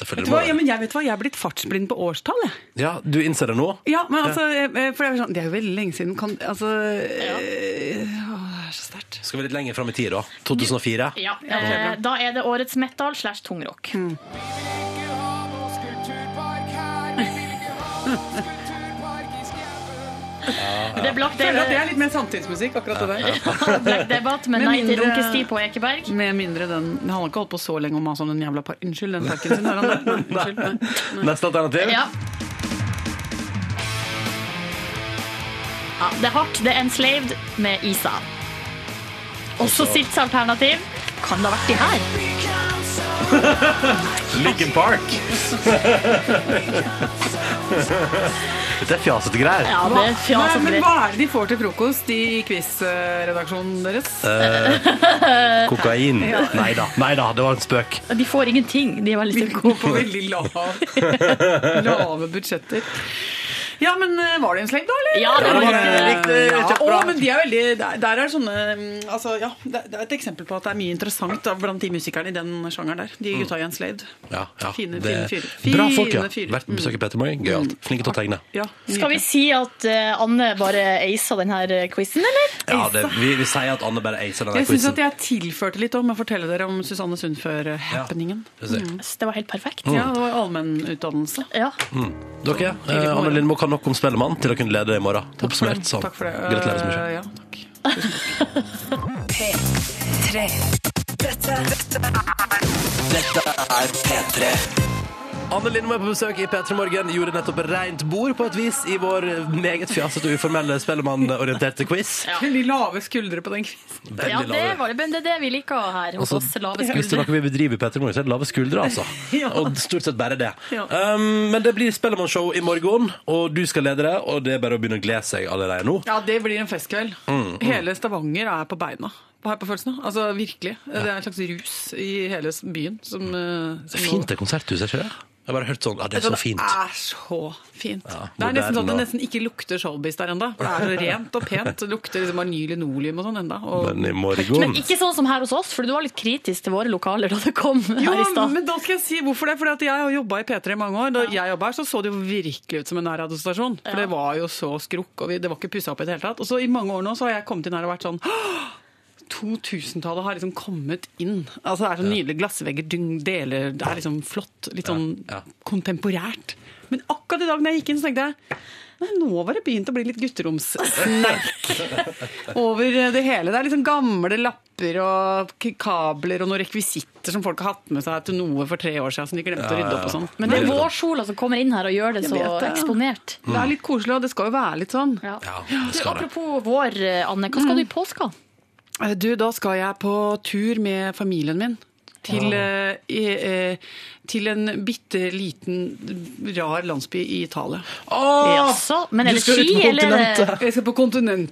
[SPEAKER 1] Selvfølgelig
[SPEAKER 4] du
[SPEAKER 1] må
[SPEAKER 4] hva? Ja,
[SPEAKER 1] det.
[SPEAKER 4] men jeg vet hva, jeg er blitt fartsblind på årstall, jeg.
[SPEAKER 1] Ja, du innser det nå?
[SPEAKER 4] Ja, men altså, eh, for jeg er sånn, det er jo veldig lenge siden. Kan, altså, eh, åh, det er så sterkt.
[SPEAKER 1] Skal vi litt lenger fram i tid, da? 2004?
[SPEAKER 2] Ja, Hmm. eh, da er det årets metal slash tungrock. Det er Black
[SPEAKER 4] Føler at det
[SPEAKER 2] Debate-
[SPEAKER 4] er litt mer samtidsmusikk, akkurat det der.
[SPEAKER 2] Ja, Black Debate med Nei til runkestid på Ekeberg.
[SPEAKER 4] Med mindre den Han har ikke holdt på så lenge om å ha sånn den jævla par... Unnskyld, den takken sin. Har han det? Nei, Unnskyld. Nei.
[SPEAKER 1] Neste alternativ?
[SPEAKER 2] Ja. Ja, det er hardt. Det er Enslaved med Isa. Også
[SPEAKER 1] Altså-
[SPEAKER 2] siste alternativ. Kan det ha vært de her?
[SPEAKER 1] Lincoln Park. Dette er fjasete greier.
[SPEAKER 2] det er fjas og dritt.
[SPEAKER 4] Nei, Men hva er altså, det de får til frokost i quiz-redaksjonen deres?
[SPEAKER 1] Eh, kokain. Nei da, nei da, det var en spøk.
[SPEAKER 2] De får ingenting. De er veldig gode
[SPEAKER 4] på veldig lav. Lave budsjetter. Ja, men eh, var det en sleng, da? eller?
[SPEAKER 2] Ja, det var Ja, det var det. det. Riktig,
[SPEAKER 4] Ja,
[SPEAKER 2] kjempebra.
[SPEAKER 4] å, men de er veldig, der, der er sånne mm, altså, ja, det, det er et eksempel på at det er mye interessant da, blant de musikerne i den sjangeren der. De gutta i Enslaved.
[SPEAKER 1] Ja, ja.
[SPEAKER 4] Fine,
[SPEAKER 1] det-
[SPEAKER 4] fine fyrer.
[SPEAKER 1] Bra folk, ja.
[SPEAKER 4] Fine Mm. fyrer.
[SPEAKER 1] Vært besøker Petter Morgen. Gøyalt. Flinke til å tegne.
[SPEAKER 4] Ja,
[SPEAKER 2] Skal vi si at eh, Anne bare aisa denne eh, quizen, eller?
[SPEAKER 1] Ja, det, vi, vi sier at Anne bare acer den
[SPEAKER 4] Jeg syns
[SPEAKER 1] quizen.
[SPEAKER 4] at jeg tilførte litt om å fortelle dere om Susanne Sundfør-happeningen.
[SPEAKER 1] det ser jeg.
[SPEAKER 2] Det var helt perfekt.
[SPEAKER 1] Mm.
[SPEAKER 4] Ja, det var allmennutdannelse.
[SPEAKER 2] Ja.
[SPEAKER 1] Mm. Dere, eh, Anne Lindmo kan nok om Spellemann til å kunne lede i morgen. Oppsummert sånn.
[SPEAKER 4] Takk for det.
[SPEAKER 1] Gratulerer så mye.
[SPEAKER 4] Eh, ja.
[SPEAKER 10] P3. Dette, dette er
[SPEAKER 1] Dette er P3. Anne Lindmo er på besøk i P3 Morgen. Gjorde nettopp rent bord på et vis i vår meget fjasete og uformelle Spellemann-orienterte quiz.
[SPEAKER 4] Veldig lave skuldre på den quizen.
[SPEAKER 1] Veldig
[SPEAKER 2] Ja, det
[SPEAKER 1] lave.
[SPEAKER 2] var det, men det er det vi liker her hos
[SPEAKER 1] Altså,
[SPEAKER 2] oss. Lave
[SPEAKER 1] Hvis det er
[SPEAKER 2] skuldre.
[SPEAKER 1] noe vi bedriver i Petter Morgen, så er det lave skuldre, altså.
[SPEAKER 2] Ja.
[SPEAKER 1] Og stort sett bare det.
[SPEAKER 2] Ja.
[SPEAKER 1] Um, men det blir Spellemann-show i morgen, og du skal lede det, og det er bare å begynne å glede seg allerede nå.
[SPEAKER 4] Ja, det blir en festkveld.
[SPEAKER 1] Mm, mm.
[SPEAKER 4] Hele Stavanger er på beina. Har jeg på følelsen av. Altså, virkelig. Det er en slags rus i hele byen. Som, eh,
[SPEAKER 1] Det
[SPEAKER 4] som
[SPEAKER 1] er fint det konserthuset, er ikke det? Jeg har bare hørt sånn, ja, det er så fint.
[SPEAKER 4] Det er så fint.
[SPEAKER 1] Ja,
[SPEAKER 4] det er nesten sånn at det
[SPEAKER 1] moderne.
[SPEAKER 4] nesten ikke lukter showbiz der ennå. Det er så rent og pent. Det lukter liksom av ny linoleum og sånn ennå.
[SPEAKER 1] Men i
[SPEAKER 2] Men
[SPEAKER 1] morgen
[SPEAKER 2] ikke sånn som her hos oss, for du var litt kritisk til våre lokaler da du kom
[SPEAKER 4] Jo,
[SPEAKER 2] her i stad.
[SPEAKER 4] men da skal jeg si hvorfor det. Fordi at jeg har jobba i P3 i mange år. Da jeg jobbet her, så så det jo virkelig ut som en nærradiostasjon. For det var jo så skrukk, og vi, det var ikke pussa opp i det hele tatt. Og så i mange år nå så har jeg kommet inn her og vært sånn «Åh, 2000-tallet har liksom kommet inn. Altså Det er så nydelige glassvegger, dyng- deler Det er liksom flott. Litt sånn kontemporært. Men akkurat i dag når jeg gikk inn, så tenkte jeg Nei, nå var det begynt å bli litt gutteromssnerk over det hele. Det er liksom gamle lapper og k- kabler og noen rekvisitter som folk har hatt med seg til noe for tre år siden som de glemte
[SPEAKER 2] Ja,
[SPEAKER 4] å rydde
[SPEAKER 2] ja,
[SPEAKER 4] opp og
[SPEAKER 2] ja.
[SPEAKER 4] sånn.
[SPEAKER 2] Men det er vårsola som kommer inn her og gjør det
[SPEAKER 4] Jeg
[SPEAKER 2] så
[SPEAKER 4] vet det.
[SPEAKER 2] eksponert.
[SPEAKER 4] Det er litt koselig, og det skal jo være litt sånn.
[SPEAKER 2] Du, apropos vår, eh, Anne. Hva skal du i påska?
[SPEAKER 4] Eh, Du, da skal jeg på tur med familien min. Til, eh, i, eh, til en bitte liten, rar landsby i Italia.
[SPEAKER 2] Jaså, men er Du det skal ut ski, på eller er det- kontinentet.
[SPEAKER 4] Jeg skal på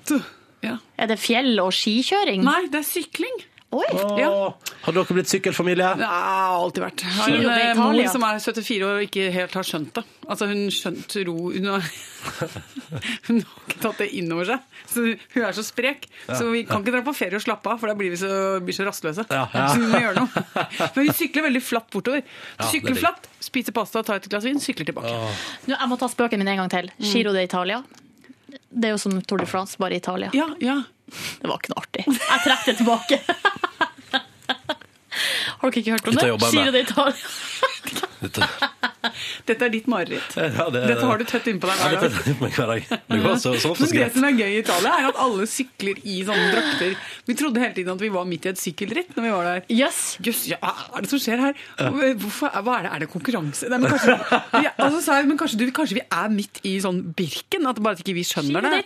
[SPEAKER 4] kontinentet.
[SPEAKER 2] Er det fjell- og skikjøring?
[SPEAKER 4] Nei, det er sykling.
[SPEAKER 2] Oi!
[SPEAKER 4] Ja.
[SPEAKER 1] Har dere blitt sykkelfamilie?
[SPEAKER 4] Det har alltid vært. Jeg Har
[SPEAKER 1] Giro
[SPEAKER 4] en eh,
[SPEAKER 1] d'Italia.
[SPEAKER 4] mor som er 74 år og ikke helt har skjønt det. Altså Hun skjønt ro Hun har, hun har ikke tatt det inn over seg. Så hun er så sprek. Så
[SPEAKER 1] Ja,
[SPEAKER 4] vi
[SPEAKER 1] ja.
[SPEAKER 4] kan ikke dra på ferie og slappe av, for da blir vi så, blir så rastløse.
[SPEAKER 1] ja.
[SPEAKER 4] Så vi må gjøre noe. Men hun sykler veldig flatt bortover.
[SPEAKER 1] Ja, det er
[SPEAKER 4] Sykler
[SPEAKER 1] digg.
[SPEAKER 4] flatt, spiser pasta, tar et glass vin, sykler tilbake.
[SPEAKER 2] Nå, jeg må ta spøken min en gang til. Giro d'Italia. Det er jo som Tour de France, bare i Italia.
[SPEAKER 4] Ja, ja.
[SPEAKER 2] Det var ikke noe artig. Jeg trekker det tilbake. Har dere ikke hørt om
[SPEAKER 1] Dette
[SPEAKER 2] det?
[SPEAKER 1] jobber jeg med.
[SPEAKER 2] Giro d'Italia.
[SPEAKER 4] Dette er ditt mareritt.
[SPEAKER 1] Ja, det-
[SPEAKER 4] Dette har du tett innpå deg
[SPEAKER 1] Eh, Ja,
[SPEAKER 4] hver
[SPEAKER 1] dette
[SPEAKER 4] dag.
[SPEAKER 1] er litt med hver dag. Det går så, sånn så
[SPEAKER 4] Men det
[SPEAKER 1] greit.
[SPEAKER 4] som er gøy i Italia, er at alle sykler i sånne drakter. Vi trodde hele tiden at vi var midt i et sykkelritt når vi var der. Jøss, ja, hva er det som skjer her? Hvorfor, hva er det? Er det konkurranse? Nei, men kanskje, ja, altså, sa jeg, men kanskje, du, kanskje vi er midt i sånn Birken? At bare at ikke vi skjønner det.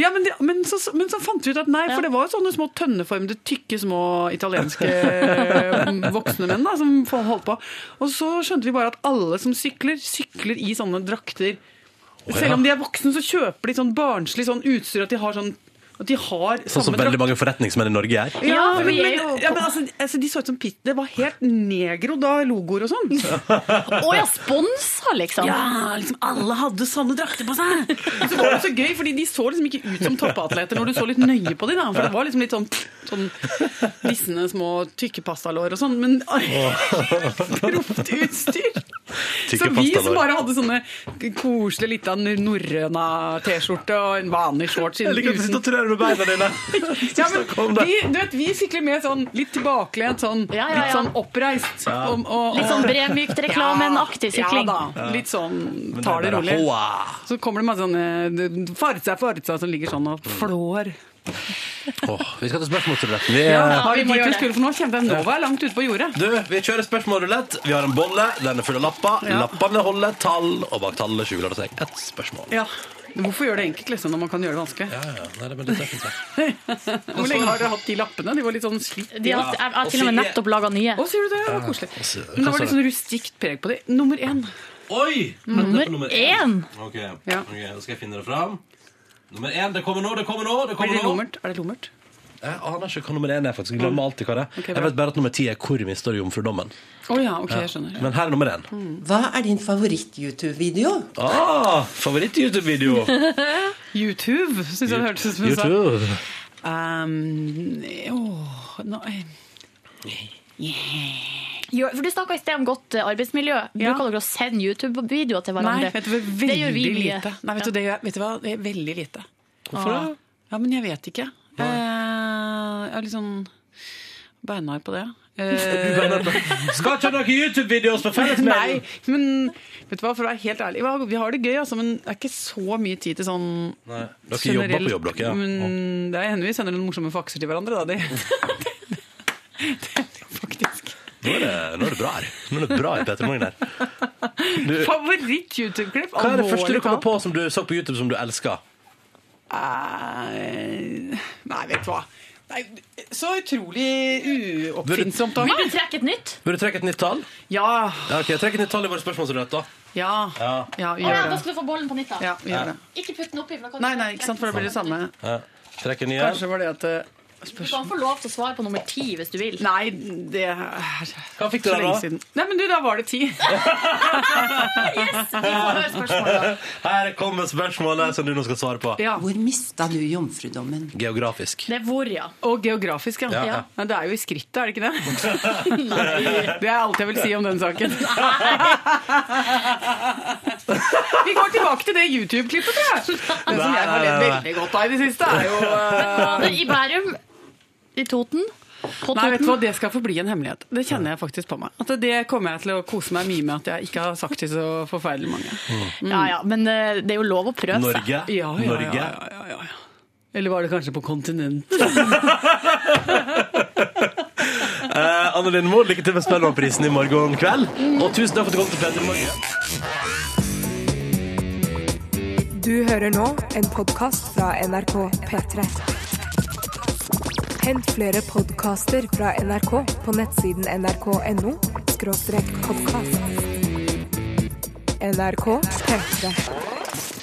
[SPEAKER 4] Ja, men, det, men, så, men så fant vi ut at nei, for det var jo sånne små tønneformede, tykke, små italienske eh, voksne menn da, som holdt på. Og så skjønte vi bare at alle som sykler, sykler i sånne drakter.
[SPEAKER 1] ja.
[SPEAKER 4] Selv om de er voksne, så kjøper de sånn barnslig sånn utstyr at de har sånn at de har
[SPEAKER 1] Sånn som
[SPEAKER 4] samme drakt.
[SPEAKER 1] veldig mange forretningsmenn i Norge er.
[SPEAKER 4] Ja, men, men, ja, men altså, altså, de så ut som pit. Det var helt negro da, logoer og sånn.
[SPEAKER 2] Å ja, sponsa, liksom.
[SPEAKER 4] Ja, liksom alle hadde sånne drakter på seg. Og så var det så gøy, fordi de så liksom ikke ut som toppatleter når du så litt nøye på dem. Da, for det var liksom litt sånn, sånn dissende små tykke pastalår og sånn. Men proft utstyr.
[SPEAKER 1] Tykke
[SPEAKER 4] Så vi som
[SPEAKER 1] pastalår.
[SPEAKER 4] bare hadde sånne koselige lita norrøna T-skjorte og en vanlig shorts
[SPEAKER 1] Jeg liker at du sitter og trør med beina dine.
[SPEAKER 4] ja, men vi, du vet, vi sykler med sånn litt tilbakelent, sånn,
[SPEAKER 2] ja, ja.
[SPEAKER 4] litt sånn oppreist.
[SPEAKER 1] Ja.
[SPEAKER 2] Litt sånn Bremykt-reklamen-aktig sykling.
[SPEAKER 4] Ja, ja da. Litt sånn
[SPEAKER 1] Men
[SPEAKER 4] tar det
[SPEAKER 1] det er
[SPEAKER 4] rolig.
[SPEAKER 1] bare hoa.
[SPEAKER 4] Så kommer det masse sånne farsa, farsa som ligger sånn
[SPEAKER 1] Mm.
[SPEAKER 4] og flår.
[SPEAKER 1] Åh, vi skal til spørsmålsruletten. Vi,
[SPEAKER 4] Ja,
[SPEAKER 1] eh,
[SPEAKER 4] har vi dit vi skulle for nå? Kjente jeg nå var jeg langt ute på jordet.
[SPEAKER 1] Du, vi kjører spørsmålrulett. Vi har en bolle, den er full av lapper.
[SPEAKER 4] Ja.
[SPEAKER 1] Lappene holder tall, og bak tallet skjuler det seg et spørsmål.
[SPEAKER 4] Ja. Hvorfor gjøre det enkelt liksom, når man kan gjøre det vanskelig?
[SPEAKER 1] Ja, ja. Nei, det er veldig treffende.
[SPEAKER 4] Hvor lenge har dere hatt de lappene? De var litt sånn slitt.
[SPEAKER 2] De har hatt- jeg har til og med nettopp laga nye.
[SPEAKER 4] Å, sier du det? Det var koselig.
[SPEAKER 1] Ja,
[SPEAKER 4] Men
[SPEAKER 1] hva
[SPEAKER 4] da var
[SPEAKER 1] sa
[SPEAKER 4] det litt sånn rustikt preg på de. Nummer én.
[SPEAKER 1] Oi!
[SPEAKER 4] Nummer
[SPEAKER 1] Nummer
[SPEAKER 4] én.
[SPEAKER 1] Ok,
[SPEAKER 4] Ja.
[SPEAKER 1] ok, da skal jeg finne det fram. Nummer én, det kommer nå, det kommer nå! det
[SPEAKER 4] Er
[SPEAKER 1] kommer
[SPEAKER 4] det
[SPEAKER 1] nå.
[SPEAKER 4] lummert? Er det lummert?
[SPEAKER 1] Jeg aner ikke hva nummer én er, faktisk. Jeg glemmer alltid hva det er.
[SPEAKER 4] Ok, bra.
[SPEAKER 1] jeg vet bare at nummer ti er 'Hvor vi står i jomfrudommen'.
[SPEAKER 4] Å ja, ok, jeg skjønner.
[SPEAKER 1] Men her er nummer én.
[SPEAKER 13] Hva er din favoritt-YouTube-video?
[SPEAKER 1] Ah, Favoritt-YouTube-video.
[SPEAKER 4] YouTube, syns jeg det hørtes ut som hun sa.
[SPEAKER 1] YouTube.
[SPEAKER 4] Um, åh, nå, eh,
[SPEAKER 2] Jo, for Du snakka i sted om godt eh, arbeidsmiljø. Bruker dere å sende YouTube-videoer til
[SPEAKER 4] nei,
[SPEAKER 2] hverandre?
[SPEAKER 4] vet du, hva, veldig
[SPEAKER 2] det gjør vi mye.
[SPEAKER 4] lite. Nei, vet, du, det gjør, vet du hva, det er veldig lite.
[SPEAKER 2] Hvorfor
[SPEAKER 4] Ah.
[SPEAKER 2] det?
[SPEAKER 4] Ja, men jeg vet ikke. Eh, jeg er litt sånn beinhard på det. Eh,
[SPEAKER 1] Skal ikke dere YouTube-videoer på
[SPEAKER 4] Nei,
[SPEAKER 1] fellesmailen?
[SPEAKER 4] men vet du hva, for å være helt ærlig, hva- vi har det gøy, altså, men det er ikke så mye tid til sånn
[SPEAKER 1] Nei, dere jobber på jobb, dere, ja.
[SPEAKER 4] Men det hender vi sender noen morsomme fakser til hverandre, da. Det,
[SPEAKER 1] Nå er det, nå er det bra her. Nå er det bra i Petter Morgen her. Du,
[SPEAKER 4] Favoritt-YouTube-klipp?
[SPEAKER 1] hva er det første du
[SPEAKER 4] alvorlig
[SPEAKER 1] kommer
[SPEAKER 4] talt.
[SPEAKER 1] på som du så på YouTube som du elsker?
[SPEAKER 4] Eh, Nei, vet du hva. Nei, så utrolig uoppfinnsomt av
[SPEAKER 2] Vil du trekke et nytt?
[SPEAKER 1] Vil du trekke et nytt tall?
[SPEAKER 4] Ja.
[SPEAKER 1] ja ok, Trekk et nytt tall i vår spørsmålsrulett, da.
[SPEAKER 4] Ja.
[SPEAKER 1] Ja.
[SPEAKER 4] Ja,
[SPEAKER 2] Å ja, da skal du få bollen på nytt, da.
[SPEAKER 4] Ja, vi gjør det.
[SPEAKER 2] Ikke putt den oppi. for da kan
[SPEAKER 4] Nei,
[SPEAKER 2] du-
[SPEAKER 4] nei, ikke sant, for det blir det samme.
[SPEAKER 1] Ja. Trekk en ny en.
[SPEAKER 4] Kanskje var det at eh,
[SPEAKER 2] Du
[SPEAKER 4] spørs-
[SPEAKER 2] kan få lov til å svare på nummer ti hvis du vil.
[SPEAKER 4] Nei, det er Hva
[SPEAKER 1] fikk du da, da?
[SPEAKER 4] Nei, men du, da var det ti.
[SPEAKER 1] Her kommer spørsmålet som du nå skal svare på.
[SPEAKER 13] Hvor mista du jomfrudommen?
[SPEAKER 1] Geografisk.
[SPEAKER 2] Det er hvor, ja.
[SPEAKER 4] Og geografisk, ja.
[SPEAKER 1] Ja, ja.
[SPEAKER 4] Men det er jo i skrittet, er det ikke det? Det er alt jeg vil si om den saken. Vi går tilbake til det YouTube-klippet, tror jeg. Det som jeg har ledd veldig godt av i det siste, er jo
[SPEAKER 2] Men var det
[SPEAKER 4] eh,
[SPEAKER 2] i Bærum, i Toten,
[SPEAKER 4] Nei, vet du hva, Det skal forbli en hemmelighet. Det kjenner jeg faktisk på meg. At det kommer jeg til å kose meg mye med at jeg ikke har sagt til så forferdelig mange.
[SPEAKER 2] Ja, ja, men eh, det er jo lov å prøve
[SPEAKER 4] Norge?
[SPEAKER 2] seg.
[SPEAKER 4] Ja, ja, ja, Norge? ja, Eller var det kanskje på kontinent?
[SPEAKER 1] Eh, Anne Lindmo, lykke til med Spellemannprisen i morgen kveld.
[SPEAKER 4] Mm.
[SPEAKER 1] Og tusen takk for at du kom til Petter i morgen.
[SPEAKER 9] Du hører nå en podkast fra NRK P3. Hent flere podkaster fra NRK på nettsiden nrk.no podkast. NRK P3.